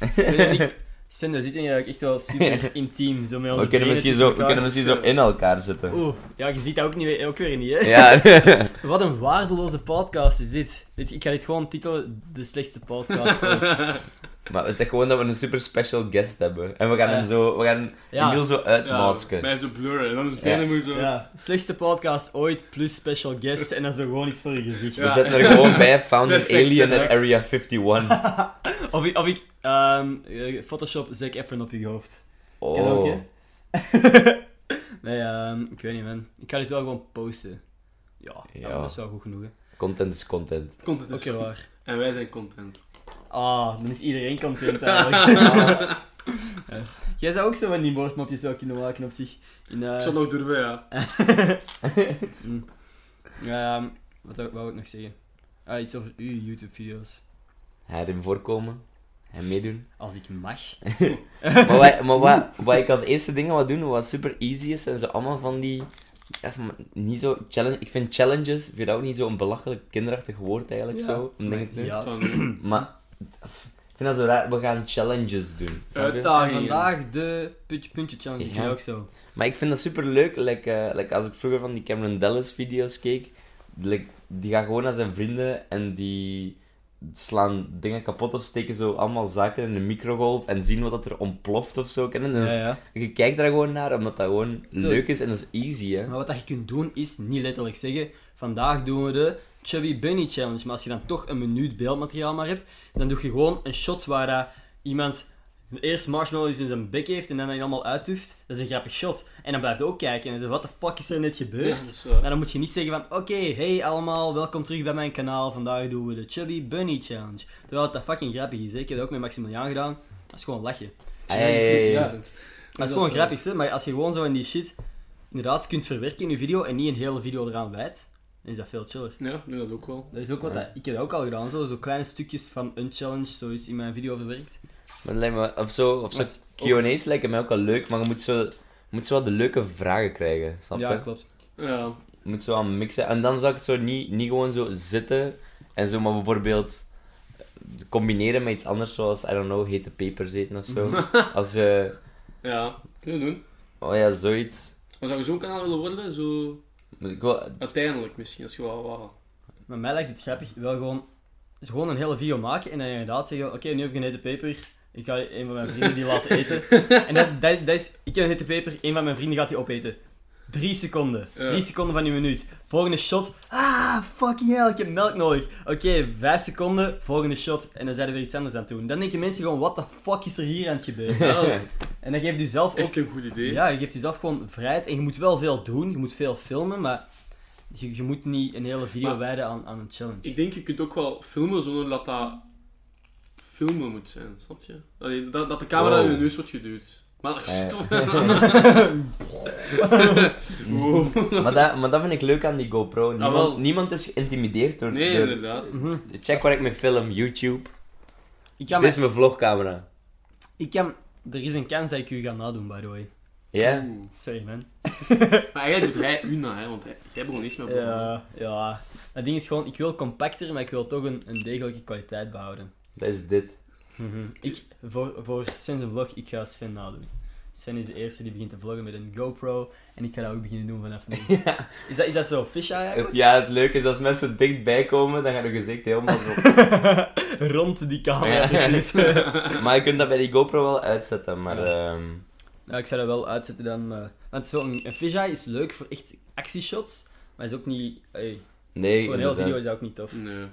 Sven, en ik- <laughs> Sven, daar zit je eigenlijk echt wel <laughs> super intiem. Zo met onze We kunnen benen misschien tussen zo, we elkaar. kunnen misschien zo in elkaar zitten. Oeh, ja, je ziet dat ook, niet, ook weer niet, hè? Ja, <laughs> Wat een waardeloze podcast is dit. Dit- Ik ga dit gewoon titelen, de slechtste <laughs> podcast ooit. maar we zeggen gewoon dat we een super special guest hebben. En we gaan hem Ja. zo, we gaan Ja. Emiel zo uitmasken. Mij zo blurren. Dan is het Ja. helemaal zo. Ja, slechtste podcast ooit, plus special guest, en dan zo gewoon iets voor je gezicht. We Ja. zetten er gewoon bij, found an Perfect, alien at perfect. Area 51. Of ik, of ik ehm, eh, Photoshop Zac Efron op je hoofd. <laughs> Ken ook, Oh. hè? nee, ehm, ik weet niet, man. Ik ga dit wel gewoon posten. Ja, Ja. ja, dat is wel goed genoeg, hè. Content is content. Content Oké, is goed. waar. En wij zijn content. Ah, dan is iedereen <laughs> content eigenlijk. Ah. Ja. Jij zou ook zo van die woordmapjes zou kunnen maken op zich. In, eh, Ik zat nog <laughs> door ja. Mm. Ehm, wat wou, wou ik nog zeggen? Ah, iets over uw YouTube-video's. Hij erin voorkomen. Hij meedoen. Als ik mag. maar wat, maar wat, wat ik als eerste dingen wil doen, wat super easy is, zijn ze allemaal van die... ja, van- niet zo challenge. Ik vind challenges, ik vind dat ook niet zo'n belachelijk kinderachtig woord eigenlijk Ja. zo, om dingen te doen. Ja. <clears throat> Van, Maar ik vind dat zo raar, we gaan challenges doen. snap je? En Uitdagingen. vandaag de puntje puntje challenge. Ik Ja. doe ook zo. Maar ik vind dat super leuk, like, eh, like als ik vroeger van die Cameron Dallas video's keek, like, die gaat gewoon naar zijn vrienden en die slaan dingen kapot of steken zo allemaal zaken in de microgolf en zien wat dat er ontploft of zo. Ken je? Dus Ja, ja. je kijkt daar gewoon naar omdat dat gewoon leuk is en dat is easy, hè. Maar wat dat je kunt doen is niet letterlijk zeggen: vandaag doen we de Chubby Bunny Challenge. Maar als je dan toch een minuut beeldmateriaal maar hebt, dan doe je gewoon een shot waar dat iemand eerst marshmallows in zijn bek heeft en dan dat allemaal uitdoeft. Dat is een grappig shot. En dan blijft je ook kijken en dan zeg wat de fuck is er net ja, gebeurd? dus, eh, Maar dan moet je niet zeggen van, oké, hey allemaal, welkom terug bij mijn kanaal. Vandaag doen we de Chubby Bunny Challenge. Terwijl het dat fucking grappig is, hè. Ik heb dat ook met Maximiliaan gedaan. Dat is gewoon lachen. Ah, ja, ja, ja, ja. Ja. Dus Dat is gewoon grappig, hè. Maar als je gewoon zo in die shit, inderdaad, kunt verwerken in je video en niet een hele video eraan wijdt, dan is dat veel chiller. Ja, ik doe dat ook wel. Dat is ook wat dat, ik heb dat ook al gedaan, zo, zo kleine stukjes van een challenge, zo is in mijn video verwerkt. Maar het lijkt me, of zo, of zo Dat is ook- Q&A's lijken mij ook wel leuk, maar je moet zo, je moet zo wat de leuke vragen krijgen, snap je? Ja, klopt. Ja. Je moet zo aan mixen. En dan zou ik zo niet, niet gewoon zo zitten en zo, maar bijvoorbeeld combineren met iets anders, zoals, I don't know, hete pepers eten of <laughs> zo. Als je, Ja, kunnen we doen. oh ja, zoiets. Maar zou je zo'n kanaal willen worden? Zo Maar Ik wil, uiteindelijk misschien, als je wel wat... <laughs> Maar mij lijkt het grappig, wel gewoon, dus gewoon een hele video maken en dan inderdaad zeggen, oké, nu heb ik een hete peper, ik ga een van mijn vrienden die laten eten. <laughs> En dat, dat, dat is, ik heb een hete peper, een van mijn vrienden gaat die opeten. Drie seconden. Ja. Drie seconden van die minuut. Volgende shot. Ah, fucking hell, ik heb melk nodig. Oké, vijf seconden, volgende shot. En dan zijn er weer iets anders aan het doen. Dan denken mensen gewoon, what the fuck is er hier aan het gebeuren? Ja, dat is En dan geeft u zelf ook echt een goed idee. ja, je geeft jezelf gewoon vrijheid en je moet wel veel doen, je moet veel filmen, maar je, je moet niet een hele video Maar- wijden aan, aan een challenge. Ik denk, je kunt ook wel filmen zonder dat dat filmen moet zijn, snap je? Allee, dat, dat de camera Wow. Ah, in je neus wordt geduwd. Maar dat Ja. <laughs> stop. Wow. maar, dat, maar dat vind ik leuk aan die Ah, GoPro. Niemand, wel. niemand is geïntimideerd door... <laughs> Nee, door- inderdaad. Mhm. check waar ik mee film, YouTube. Ik kan, Dit is mijn vlogcamera. ik kan, er is een kans dat ik u ga nadoen, by the way. Ja? Oeh. Sorry, man. Maar eigenlijk doet hij u na, hè, want hij, jij begon niks met vloggen. Ja, ja. Het ding is gewoon, ik wil compacter, maar ik wil toch een, een degelijke kwaliteit behouden. Dat is dit. Ik, voor, voor Sven's vlog, ik ga Sven nadoen. Sven is de eerste die begint te vloggen met een GoPro, en ik ga dat ook beginnen doen vanaf nu. Is, dat, is dat zo, fisheye Het, eigenlijk? ja, het leuke is als mensen dichtbij komen, dan gaat hun gezicht helemaal zo... <laughs> Rond die camera, Ja. precies. maar je kunt dat bij die GoPro wel uitzetten, maar... ehm, Ja, Nou, ik zou dat wel uitzetten dan. maar- Want zo'n een fisheye is leuk voor echt actieshots, maar is ook niet. ey, nee, voor een hele inderdaad. Mm. video is dat ook niet tof. Nee.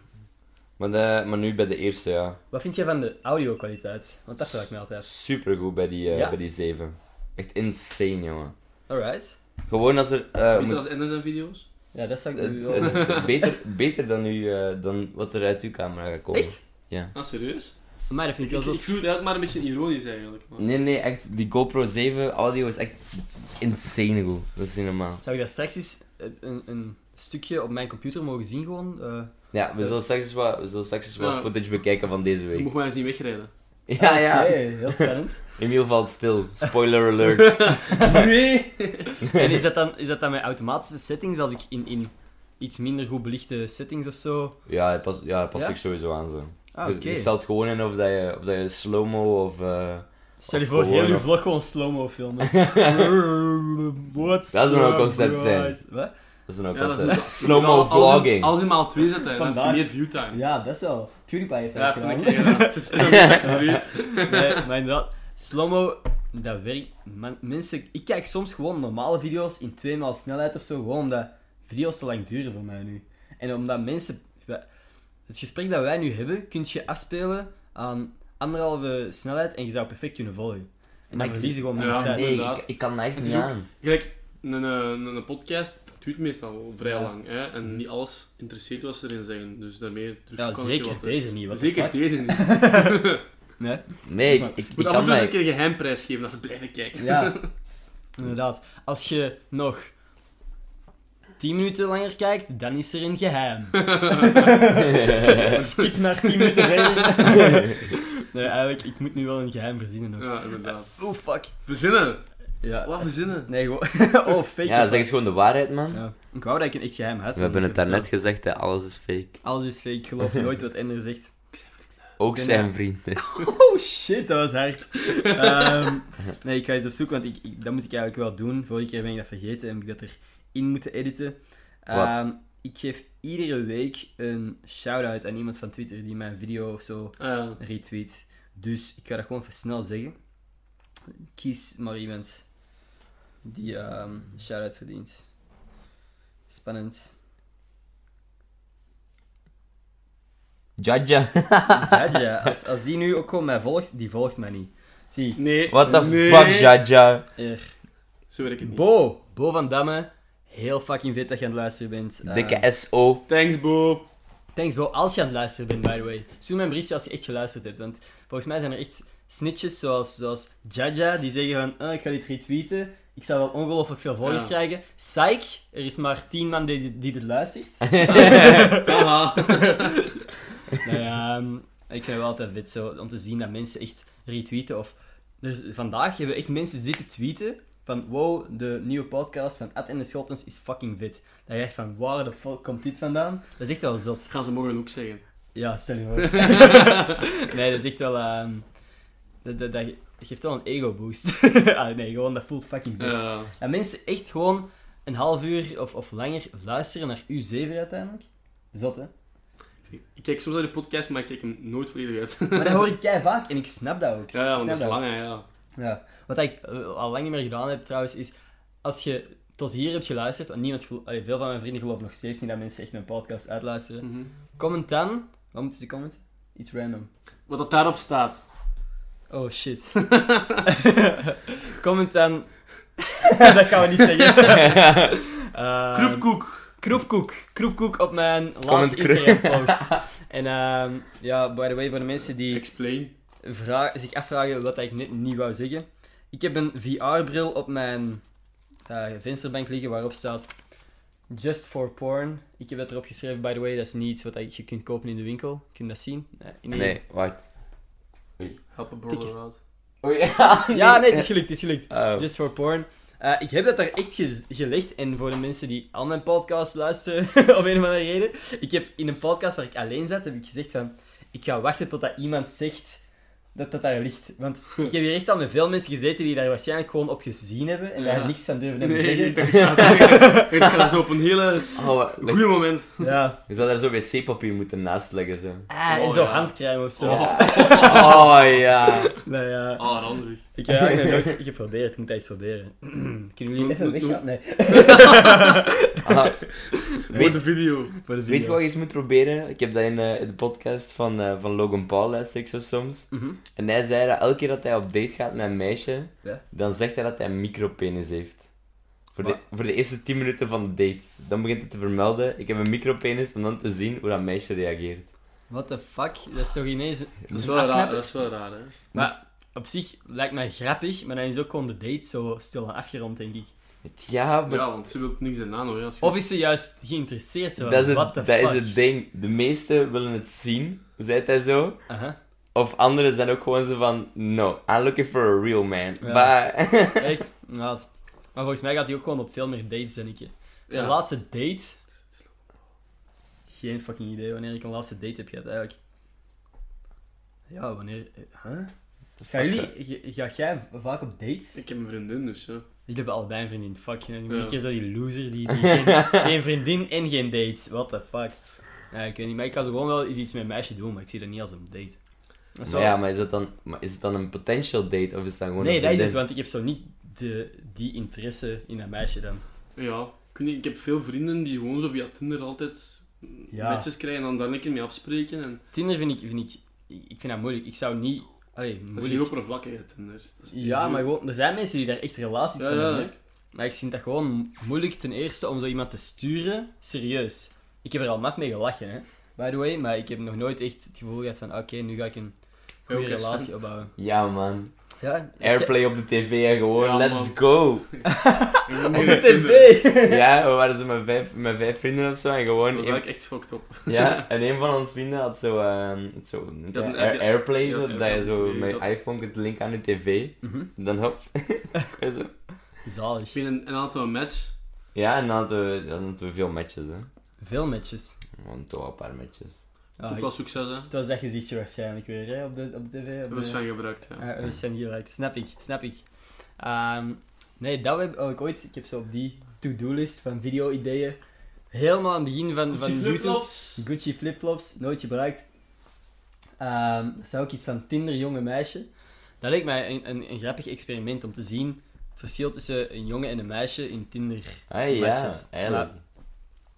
Maar, de, maar nu bij de eerste, ja. Wat vind jij van de audio-kwaliteit? Want dat vraag ik me altijd. Supergoed bij die, eh Ja? bij die 7. Echt insane, jongen. Alright. Gewoon als er... eh, Beter moet- als NSN-video's. Ja, dat zou ik het- nu wel- het- beter, beter dan, u, eh, dan wat er uit uw camera gaat komen. Echt? Ja. Ah, serieus? <laughs> Maar dat vind Ik, ik ik, <laughs> wel zo... ik voel het eigenlijk maar een beetje ironisch eigenlijk. maar- Nee, nee, echt. Die GoPro 7 audio is echt het is insane goed. Dat is niet normaal. Zou ik dat straks eens eh, een, een stukje op mijn computer mogen zien gewoon? Eh, Ja, we zullen straks eens wat, we zullen straks eens wat Ja. footage bekijken van deze Je week. mocht mij eens zien wegrijden. <laughs> Ja, ja. Oké, heel spannend. Emiel valt stil. Spoiler alert. <laughs> nee! en is dat, dan, is dat dan met automatische settings als ik in, in iets minder goed belichte settings of zo? <laughs> ja, hij past, ja, hij past Ja? zich sowieso aan zo. Ah, Dus oké. je stelt gewoon in of dat je, of dat je slow-mo of... eh, Stel je Of voor, gewoon heel uw of- vlog gewoon slow-mo <laughs> filmen. What's Dat zou een up, concept zijn. right? Wat? dat is een ook Ja, dat is concept. moet- <laughs> Slow-mo moet al- alles in- vlogging. Alles in maal 2 zetten, dan heb je Vandaag. meer viewtime. Ja, Ja, dat is wel. PewDiePie heeft dat dat vind gedaan. <laughs> ik inderdaad. <laughs> Het is een zakken twee. Nee, maar inderdaad, slow-mo, dat werkt. Man- mensen, ik kijk soms gewoon normale video's in tweemaal snelheid of zo, gewoon omdat video's te lang duren voor mij nu. En omdat mensen... wij- Het gesprek dat wij nu hebben, kun je afspelen aan anderhalve snelheid en je zou perfect kunnen volgen. En dan Maar ik- verlies je gewoon Ja, meer tijd. nee, ik, inderdaad. ik kan dat echt Het is niet ook- aan. Gelijk, een, eh, een, een podcast duurt meestal wel vrij Ja. Mm. lang. Hè? En niet alles interesseert wat ze erin zeggen. Dus daarmee... Ja, Dus kan ik zeker je wat- deze niet. Wat Zeker <laughs> deze niet. Nee? Nee, ik, Maar- ik, ik moet af en kan toe eens dat een keer geheimprijs geven dat ze blijven kijken. Ja, <laughs> inderdaad. Als je nog 10 minuten langer kijkt, dan is er een <laughs> geheim. Skip naar 10 minuten verder. <laughs> Nee, eigenlijk, ik moet nu wel een geheim verzinnen nog. Ja, inderdaad. Oh, fuck. Verzinnen! Ja. Wat verzinnen? Nee, gewoon... <laughs> Oh, fake. Ja, zeg eens gewoon de waarheid, man. Ja. Ik wou dat ik een echt geheim had. We hebben het daarnet gezegd, hè, alles is fake. Alles is fake, ik geloof nooit wat Ender zegt. Ook Ja. <laughs> zijn vrienden. Oh shit, dat was hard. Ehm, nee, ik ga eens op zoek, want ik, ik- dat moet ik eigenlijk wel doen. Vorige keer ben ik dat vergeten en heb ik dat erin moeten editen. Ehm, ik geef iedere week een shout-out aan iemand van Twitter die mijn video of zo Ah, retweet. Dus ik ga dat gewoon even snel zeggen. Kies maar iemand die ehm, een shout-out verdient. Spannend. Jaja. Jaja, als, als die nu ook gewoon mij volgt, die volgt mij niet. Zie, nee. What the nee. fuck, Jaja? er. Zo werkt het niet. Bo! Bo van Damme, heel fucking vet dat je aan het luisteren bent. Ehm, <laughs> Dikke SO. Thanks, Bo. Thanks Bo, als je aan het luisteren bent, by the way. Stuur me een berichtje als je echt geluisterd hebt, want volgens mij zijn er echt snitches zoals, zoals Jaja, die zeggen van, "Eh, ik ga dit retweeten, ik zou wel ongelooflijk veel volgers Ja. krijgen. Psych, er is maar tien man die, die dit luistert. Haha. <laughs> nou ja, ehm, ik vind het wel altijd vet zo, om te zien dat mensen echt retweeten of... Dus vandaag hebben echt mensen zitten tweeten van wow, de nieuwe podcast van Ad en de Schottens is fucking vet. Dan je echt van waar de fuck komt dit vandaan? Dat is echt wel zot. Gaan ze morgen ook zeggen. Ja, stel je voor. <laughs> nee, dat is echt wel. ehm, dat, dat, dat ge- geeft wel een ego boost. <laughs> ah, nee, gewoon dat voelt fucking vet. Eh, Dat mensen echt gewoon een half uur of, of langer luisteren naar U7 uiteindelijk. Zot, <laughs> hè? ik kijk soms naar de podcast, maar ik kijk hem nooit volledig uit. <laughs> Maar dat hoor ik kei vaak en ik snap dat ook. Ja, ja, Ik want snap dat is lang, hè, ja. Ja. Wat ik eh, al lang niet meer gedaan heb trouwens, is als je tot hier hebt geluisterd, en niemand gelo- allee, veel van mijn vrienden geloven nog steeds niet dat mensen echt mijn podcast uitluisteren. Mhm. Comment dan. Wat moeten ze commenten? Iets random. Wat dat daarop staat. Oh shit. Comment dan. dat gaan we niet zeggen. Ehm, Kroepkoek. Kroepkoek. Kroepkoek op mijn Comment laatste Kroep. Instagram-post. en ehm, ja, by the way, voor de mensen die Explain. vra- zich afvragen wat ik net niet wou zeggen. Ik heb een VR-bril op mijn eh, vensterbank liggen waarop staat Just for Porn. Ik heb dat erop geschreven, by the way. Dat is niet iets wat ik- je kunt kopen in de winkel. Kun je dat zien? Nee. in de- Nee, wacht. Help a brother out. Oei, ja. Ja, nee, het is gelukt, het is gelukt. Oh. Just for porn. Eh, ik heb dat daar echt ge- gelegd. En voor de mensen die al mijn podcast luisteren, <laughs> om een of andere reden. Ik heb in een podcast waar ik alleen zat, heb ik gezegd van... Ik ga wachten totdat iemand zegt dat dat daar ligt. Want ik heb hier echt al met veel mensen gezeten die daar waarschijnlijk gewoon op gezien hebben. En daar Ja. niks van durven hebben Nee, ik zeggen. <laughs> dacht, ik zou het zeggen. Ik dacht, dat is op een hele Oh, wat- goede moment. Ja. je zou daar zo wc-papier moeten naast leggen, zo. Ah, en Oh, zo ja. handcrème of zo. Oh, Oh, ja. <laughs> <laughs> Nou ja. ah, ranzig. Ik heb eigenlijk nog nooit geprobeerd, ik moet dat eens proberen. <clears throat> Kunnen jullie even Doe- doe- weggaan? Nee. Ah, Voor weet, de video. Voor de weet je video. wat je eens moet proberen? Ik heb dat in eh, de podcast van, eh, van Logan Paul luister ik zo soms. Mhm. En hij zei dat elke keer dat hij op date gaat met een meisje, Ja. dan zegt hij dat hij een micropenis heeft. Voor de, Wat? voor de eerste 10 minuten van de date. Dan begint hij te vermelden, ik heb een micropenis, om dan te zien hoe dat meisje reageert. What the fuck? Dat is toch ineens... Dat is Moest wel raar, afknippen? dat is wel raar, hè. Maar op zich lijkt mij grappig, maar dan is ook gewoon de date zo stil en afgerond, denk ik. Ja, maar Ja, want ze wil niks in nano, hè. Als je- Of is ze juist geïnteresseerd? Zo, dat, is het, what the dat is fuck? het ding. De meesten willen het zien, zei hij zo. Aha. Of anderen zijn ook gewoon zo van, no, I'm looking for a real man. Ja. Bye. Echt? Nou, dat is- maar volgens mij gaat hij ook gewoon op veel meer dates dan ik. hè. Ja. Een laatste date? Geen fucking idee wanneer ik een laatste date heb gehad, eigenlijk. Ja, wanneer... eh, Huh? Gaan jullie... g- Ga jij vaak op dates? Ik heb een vriendin, dus ja. Ik heb allebei een vriendin. Fuck, je bent Ja. een keer zo die loser <laughs> die, die geen, geen vriendin en geen dates. What the fuck. Ja, ik weet niet, maar ik kan zo gewoon wel eens iets met een meisje doen, maar ik zie dat niet als een date. Dat is Maar wel- ja, maar is, dat dan, maar is het dan een potential date of is het dan gewoon nee, een dat is het, vriendin? want ik heb zo niet de, die interesse in dat meisje dan. Ja, ik, weet niet, ik heb veel vrienden die gewoon zo via Tinder altijd Ja. matches krijgen en dan daar een keer mee afspreken. En Tinder vind ik, vind ik, ik vind dat moeilijk. Ik zou niet... Allee, dat is heel moeilijk. oppervlakkig, hè, Tinder. Dat is Ja, heel- maar gewoon, er zijn mensen die daar echt relaties Ja, van ja, hebben. hè. Maar ik vind dat gewoon moeilijk ten eerste om zo iemand te sturen, serieus. Ik heb er al mat mee gelachen, hè. By the way, maar ik heb nog nooit echt het gevoel gehad van, oké, nu ga ik een goede Ook eens relatie van- opbouwen. Ja, man. Ja, Airplay op de tv en gewoon, Ja, let's man. <laughs> go. <laughs> En gewoon op geen de Tinder. <laughs> tv! ja, we waren zo met vijf, met vijf vrienden of zo en Dat gewoon... was een- eigenlijk echt fucked up. <laughs> ja, en een van ons vrienden had zo... ehm, zo hoe noemt Die had dat? een- Air- die- Airplay, die had zo, een dat je airplay op zo de tv, met je dat- iPhone kunt linken aan je tv. Mhm. En dan hop. <laughs> en zo. Zalig. Ik vind een, een aantal match. ja, en dan hadden we, dan hadden we veel matches, hè. Veel matches. Gewoon toch wel een paar matches. Ah, ook ik- wel succes, hè. het was dat gezichtje waarschijnlijk weer, hè, op de, op de tv. op Hebben de- Sven gebruikt, ja. Ah, we zijn gelijk, snap ik, snap ik. Ehm, nee, dat heb oh, ik ooit, ik heb zo op die to-do-list van video-ideeën, helemaal aan het begin van, van Die YouTube, flipflops. Gucci flipflops, nooit gebruikt. Ehm zou ik iets van Tinder jonge meisje. Dat leek mij een, een, een grappig experiment om te zien het verschil tussen een jongen en een meisje in Tinder. Ah ja, Matches. eigenlijk.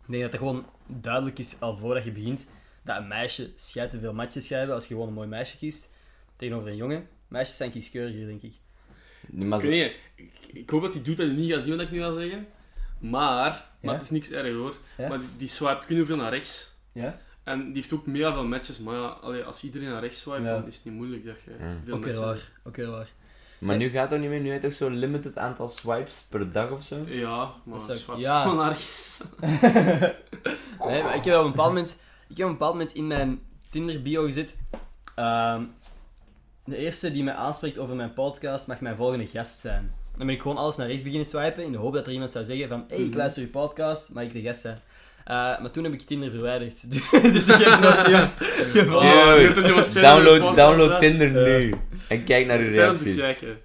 Ik denk dat het gewoon duidelijk is al voordat je begint dat een meisje schijt te veel matches gaat hebben als je gewoon een mooi meisje kiest tegenover een jongen. Meisjes zijn kieskeuriger, denk ik. Maar Ik, ze- weet niet, ik, ik hoop dat hij doet dat hij niet gaat zien wat ik nu ga zeggen. Maar, maar Ja? het is niks erg hoor. Ja? Maar die, die swipe kunnen veel naar rechts. Ja? En die heeft ook mega veel matches. Maar ja, allee, als iedereen naar rechts swipe, Ja. dan is het niet moeilijk dat je Ja. veel Ook weer matches hebt. waar, ook weer waar. Maar nu gaat het ook niet meer. Nu heb je toch zo'n limited aantal swipes per dag of zo? Ja, maar Dat zou- swipe ja. gewoon naar rechts. <laughs> Nee, maar ik heb op een bepaald moment, ik heb op een bepaald moment in mijn Tinder bio gezet. ehm, de eerste die mij aanspreekt over mijn podcast mag mijn volgende gast zijn. Dan ben ik gewoon alles naar rechts beginnen swipen in de hoop dat er iemand zou zeggen van hey, ik Mhm. luister je podcast, mag ik de gast zijn? Eh, maar toen heb ik Tinder verwijderd, <laughs> dus ik heb nog iemand <laughs> gevonden. Ja. Dude, je hebt dus iemand zelf in de download, podcast, download hè? Tinder Ja. nu. En kijk naar uw Tijdens het reacties. kijken.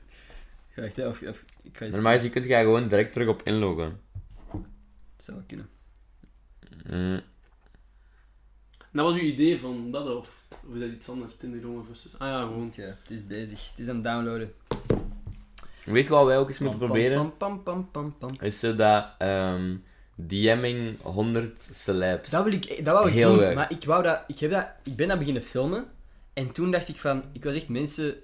Wacht, hè, of, of, ik ga eens... Normaal gezien kun je gewoon direct terug op inloggen. Zou wel kunnen. Mm. Dat was uw idee van dat of? Of is dat iets anders? Tinder jongen versus... Ah ja, gewoon. Oké, het is bezig. Het is aan het downloaden. Weet je wat wij ook eens moeten Pam, pam, proberen? Pam, pam, pam, pam, pam. Is zo dat ehm, DM'ing 100 celebs. Dat, wil ik, dat wou ik Heel doen, erg. maar ik, wou dat, ik, heb dat, ik ben dat beginnen filmen. En toen dacht ik van... Ik was echt mensen...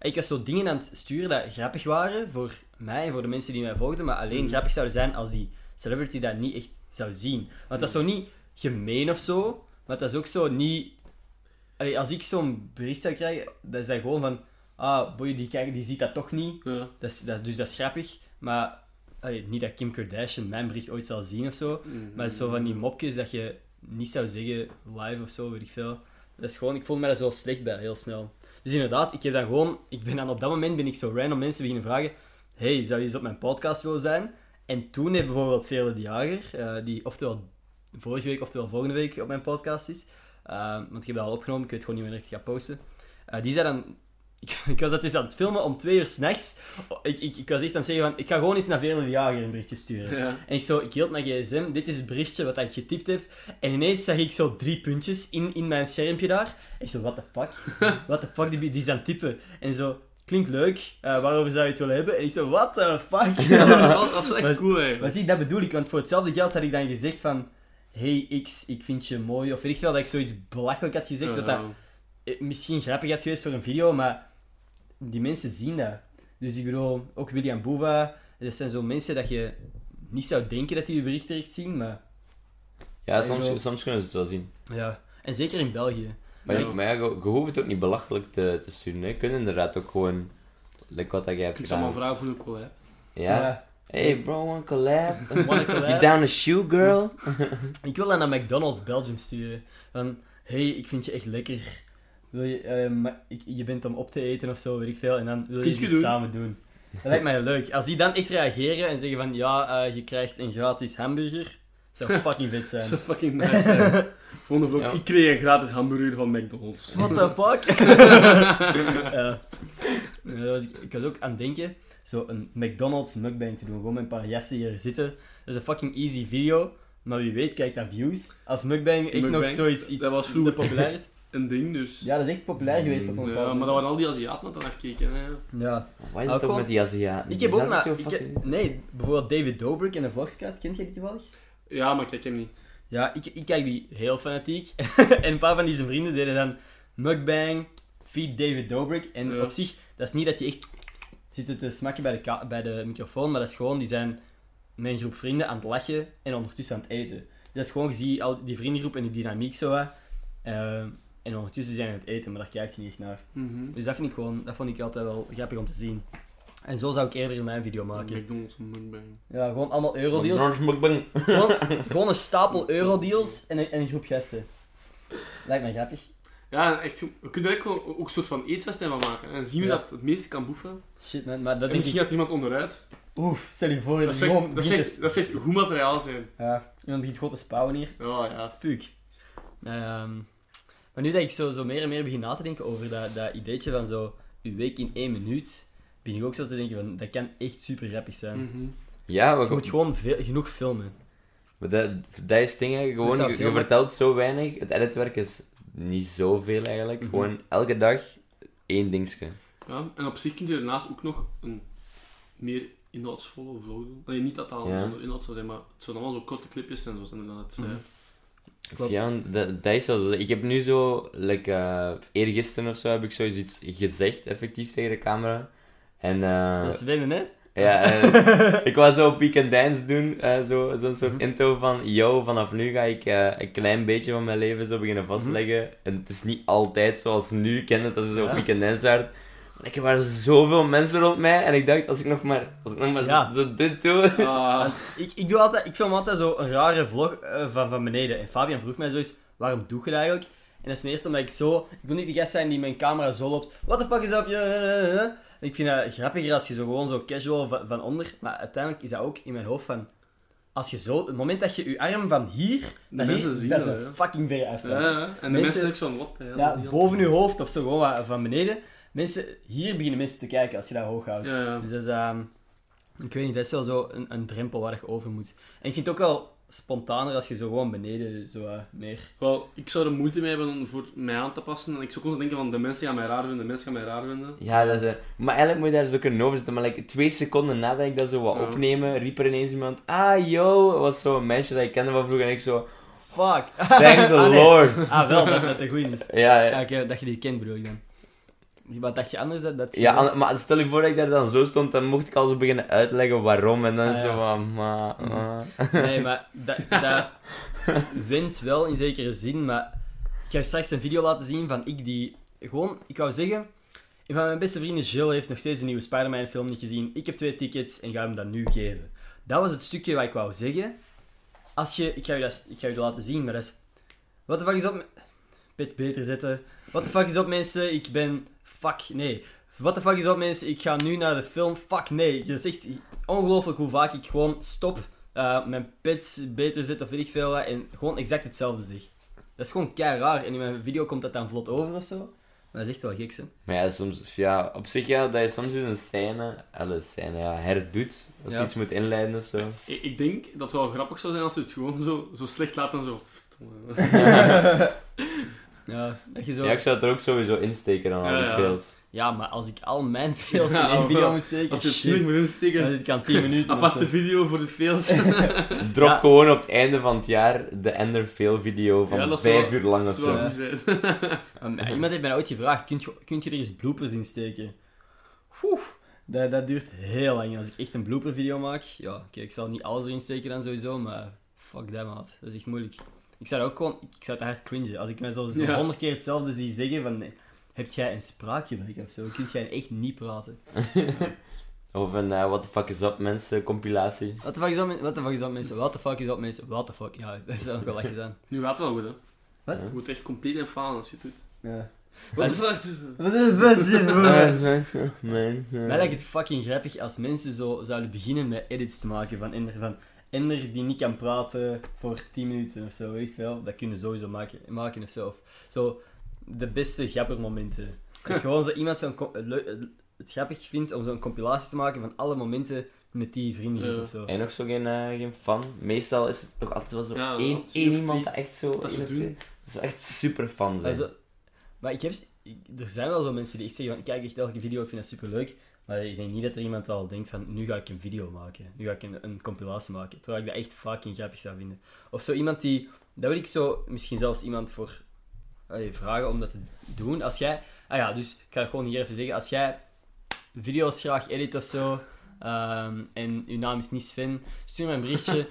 Ik was zo dingen aan het sturen dat grappig waren voor mij en voor de mensen die mij volgden. Maar alleen Mhm. grappig zouden zijn als die celebrity dat niet echt zou zien. Want dat is zo niet gemeen of zo. Maar dat is ook zo niet... Allee, als ik zo'n bericht zou krijgen, dan is dat gewoon van... Ah, boy, die, kijkt- die ziet dat toch niet. Ja. Dat is, dat, dus dat is grappig, maar allee, niet dat Kim Kardashian mijn bericht ooit zal zien of zo. Mhm. Maar het is zo van die mopjes dat je niet zou zeggen live of zo, weet ik veel. Dat is gewoon, ik voel me daar zo slecht bij, heel snel. Dus inderdaad, ik heb dan gewoon, ik ben dan op dat moment ben ik zo random mensen beginnen vragen. Hey, zou je eens op mijn podcast willen zijn? En toen heeft bijvoorbeeld Veerle de Jager, eh, die oftewel vorige week oftewel volgende week op mijn podcast is. eh, want ik heb dat al opgenomen, ik weet gewoon niet wanneer ik het ga posten. Eh, die zei dan, <laughs> ik, ik was dat dus aan het filmen om twee uur s'nachts. Ik, ik, ik was echt aan het zeggen van, ik ga gewoon eens naar Veerle de Jager een berichtje sturen. Ja. En ik, zo, ik hield mijn gsm, dit is het berichtje wat ik getypt heb. En ineens zag ik zo drie puntjes in, in mijn schermpje daar. En ik zo, what the fuck? what the fuck, die, die is aan het typen. En zo, klinkt leuk, eh, waarover zou je het willen hebben? En ik zo, what the <laughs> fuck? <laughs> Ja, dat, is wel, dat is wel echt Maar- cool Maar eigenlijk. zie, dat bedoel ik, want voor hetzelfde geld had ik dan gezegd van... Hey X, ik vind je mooi. Of weet ik veel, dat ik zoiets belachelijk had gezegd. Wat dat Ja. eh, misschien grappig had geweest voor een video, maar die mensen zien dat. Dus ik bedoel, ook William Boeva. Dat zijn zo mensen dat je niet zou denken dat die je bericht direct zien, maar... Ja, Ik wil- soms, soms kunnen ze het wel zien. Ja. En zeker in België. Maar ja, Ja. maar ja je, je hoeft het ook niet belachelijk te, te sturen. Hè. Je kunt inderdaad ook gewoon... Like wat dat jij hebt Ik zou maar gedaan. vragen voor een collab. Ja. Hey bro, one collab? Wanna collab? You down a shoe girl? Ik wil dat naar McDonald's Belgium sturen. Van, hey, ik vind je echt lekker. Wil je, eh, ma- ik, je bent om op te eten of zo, weet ik veel. En dan wil je Kunt je dit doen. samen doen. Dat lijkt mij leuk. Als die dan echt reageren en zeggen van, ja, eh, je krijgt een gratis hamburger. <laughs> Zou fucking vet Dat is zijn. fucking <laughs> nice. hè. Volgende vlog. Ja. Ik kreeg een gratis hamburger van McDonald's. What the <laughs> fuck? ja. Nee, dat was ik, ik was ook aan het denken, zo een McDonald's mukbang te doen. Gewoon met een paar jassen hier zitten. Dat is een fucking easy video. Maar wie weet kijkt naar views. Als mukbang echt nog Mukbang, zoiets iets dat was vroeger populair <laughs> is. Een ding dus. Ja, Ja, dat is echt populair geweest op een maar bepaald dat moment. waren al die Aziaten dat naar keken. Hè. Ja. Wat is het Alcohol? ook met die Aziaten? Ik heb Die ook zijn naar... zo ik heb- fascinerend. nee, bijvoorbeeld David Dobrik in een vlogscout. Kent jij die toevallig? Ja, maar ik kijk hem niet. Ja, ik, ik kijk die heel fanatiek. <laughs> en een paar van die zijn vrienden deden dan mukbang, feed David Dobrik. En Ja. op zich, dat is niet dat die echt zitten te smakken bij de, ka- bij de microfoon, maar dat is gewoon, die zijn met een groep vrienden aan het lachen en ondertussen aan het eten. Dus dat is gewoon, je ziet al die vriendengroep en die dynamiek zo wat. Eh, en ondertussen zijn ze aan het eten, maar daar kijk je niet echt naar. Dus dat vind ik gewoon, dat vond ik altijd wel grappig om te zien. En zo zou ik eerder mijn video maken. McDonald's mukbang. Ja, gewoon allemaal Orange eurodeals. mukbang. gewoon, <laughs> gewoon een stapel eurodeals en een, en een groep gasten. Lijkt me grappig. Ja, echt. goed. We kunnen er ook, ook een soort van eetfestijn van maken. En zien we Ja. dat het meeste kan boeven. Shit man, maar dat En denk misschien ik... gaat iemand onderuit. Oef, stel je voor, Dat dat is is gewoon echt, dat is bietjes. echt, dat is echt goed materiaal zijn. Ja, iemand begint gewoon te spouwen hier. Oh ja. Fuck. Ehm, maar nu dat ik zo, zo meer en meer begin na te denken over dat, dat ideetje van zo... Uw week in één minuut, begin ik ook zo te denken van... Dat kan echt super grappig zijn. Mhm. Ja, Je moet maar, gewoon veel, genoeg filmen. maar dat, dat is het ding, hè. Dat Gewoon, zou je, je veel- vertelt zo weinig. Het editwerk is niet zoveel eigenlijk. Mhm. Gewoon elke dag één dingetje. Ja, en op zich kun je daarnaast ook nog een meer inhoudsvolle vlog doen. Alleen niet dat dat allemaal Ja. zonder inhoud zou zijn, maar het zouden allemaal zo korte clipjes zijn, zoals inderdaad. eh, Mhm. Klopt. Ja, dat, dat is wel zo. Ik heb nu zo, like, eh eergisteren of zo, heb ik zoiets iets gezegd, effectief, tegen de camera. En, eh, Dat is winnen, hè? <laughs> ja, eh, ik was zo op Weekend Dance doen, eh, zo, zo'n Mhm. soort intro van, yo, vanaf nu ga ik eh, een klein beetje van mijn leven zo beginnen Mhm. vastleggen. En het is niet altijd zoals nu, ik ken het, als je zo op Ja. Weekend Dance werd. Maar Er waren zoveel mensen rond mij en ik dacht, als ik nog maar, als ik nog maar Ja. zo, zo dit doe... <laughs> ah, Ik, ik, doe altijd, ik film altijd zo een rare vlog eh, van, van beneden. En Fabian vroeg mij zo eens, waarom doe je dat eigenlijk? En dat is ten eerste omdat ik zo... Ik wil niet die gast zijn die mijn camera zo loopt. What the fuck is up? Ja, ja, ja, ja. eh, En Ik vind dat grappiger als je zo gewoon zo casual van, van onder... Maar uiteindelijk is dat ook in mijn hoofd van... Als je zo... Het moment dat je je arm van hier... Naar mensen hier, zien dat is dat, een hè. fucking verre ja, afstand. ja. En de Mensen- mensen zijn ook zo'n wat bij. Ja, boven je hoofd of zo, gewoon wat van beneden. Mensen... Hier beginnen mensen te kijken als je dat hoog houdt. Ja, ja. Dus dat is, ehm, ik weet niet, dat is wel zo een, een drempel waar je over moet. En ik vind het ook wel spontaner als je zo gewoon beneden zo eh, meer. Wel, ik zou er moeite mee hebben om voor mij aan te passen. En ik zou constant denken van, de mensen gaan mij raar vinden, de mensen gaan mij raar vinden. Ja, dat, eh, maar eigenlijk moet je daar zo kunnen over zitten. Maar like, twee seconden nadat ik dat zo wat Ja. opnemen, riep er ineens iemand... Ah, yo! Het was zo'n meisje dat ik kende van vroeger. En <laughs> ik zo... Fuck! Thank the Ah, nee. lord! Ah, wel, dat dat een goeie is. Ja, Ja, ja. oké, dat je die kent bedoel ik dan. Wat dacht je anders? Dat, dat ja an- maar stel je voor dat ik daar dan zo stond, dan mocht ik al zo beginnen uitleggen waarom. En dan Ah, zo ja. van... Ma, ma. Nee, maar dat, dat wint wel in zekere zin, maar ik ga je straks een video laten zien van ik die... Gewoon, ik wou zeggen, een van mijn beste vrienden, Jill, heeft nog steeds een nieuwe Spider-Man film niet gezien. Ik heb twee tickets en ga hem dat nu geven. Dat was het stukje wat ik wou zeggen. Als je... Ik ga je dat, ik ga je dat laten zien, maar dat is... Wat de fuck is op... me- Pit beter zetten. Wat de fuck is op, mensen? Ik ben... Fuck, nee. Wat de fuck is op, mensen? Ik ga nu naar de film. Fuck, nee. Het is echt ongelooflijk hoe vaak ik gewoon stop eh, mijn pits beter zit of weet ik veel wat, en gewoon exact hetzelfde zeg. Dat is gewoon kei raar en in mijn video komt dat dan vlot over of zo. Maar dat is echt wel <laughs> gek, hè? Maar ja, soms... Ja, op zich ja, dat je soms in een scène... Alle scène, ja. Herdoet. Als je Ja. iets moet inleiden of zo. Ik, ik denk <laughs> dat het wel grappig zou zijn als ze het gewoon zo, zo slecht laten en zo... Ja, dat je zo... Ja, ik zou het er ook sowieso insteken aan al Ja, die ja. <laughs> fails. Ja, maar als ik al <laughs> mijn fails Ja, in één video wel. moet steken, Als je het shit, terug moet dan insteken, zit ik aan 10 minuten. of aparte zo. video voor de <laughs> fails. Drop Ja. gewoon op het einde van het jaar de Ender fail video Ja, van dat zou- 5 uur lang Dat of zo. zou wel zo. goed zijn. Um, ja, iemand heeft mij ooit gevraagd, kunt je, kunt je er eens bloopers in steken? Oeh, dat, dat duurt heel lang. Als ik echt een blooper video maak, ja, oké, ik zal niet alles erin steken dan sowieso, maar fuck that, maat. Dat is echt moeilijk. Ik zou dat ook gewoon, ik zou het echt cringen. Als ik mezelf zo Ja. honderd keer hetzelfde zie zeggen van, nee, heb jij een spraakgebrek of zo? Kun jij echt niet praten? <laughs> Of een eh, What the fuck is up mensen compilatie. What the fuck is dat, men- what the fuck is dat mensen? What the fuck is dat mensen? What the fuck? Ja, dat zou nog wel lachen zijn. Nu gaat het wel goed, hè. Wat? Je moet echt compleet in falen als je het doet. Ja. Wat de En- vraag? Wat is <laughs> best voor? Mij Mensen. lijkt het fucking grappig als mensen zo zouden beginnen met edits te maken van Ender. Van Ender die niet kan praten voor 10 minuten of zo, weet ik veel. Dat kunnen we sowieso maken, maken of zo. Of Zo de beste grappermomenten. Dat gewoon zo iemand zo'n co- het leu- het- het grappig vindt om zo'n compilatie te maken van alle momenten met die vrienden Ja. of zo. En nog zo geen, eh, geen fan. Meestal is het toch altijd wel zo Ja, één, altijd één of iemand twee. dat echt zo... Dat ze één of doen. twee- Dat ze echt super fan zijn. Maar, zo- maar ik heb, ik- er zijn wel zo mensen die echt zeggen van ik kijk echt elke video, ik vind dat super leuk. Maar ik denk niet dat er iemand al denkt van nu ga ik een video maken, nu ga ik een, een compilatie maken. Terwijl ik dat echt fucking grappig zou vinden. Of zo iemand die, dat wil ik zo misschien zelfs iemand voor allee, vragen om dat te doen. Als jij, ah ja, dus ik ga het gewoon hier even zeggen, als jij video's graag edit of zo. ehm, en uw naam is niet Sven, stuur me een berichtje.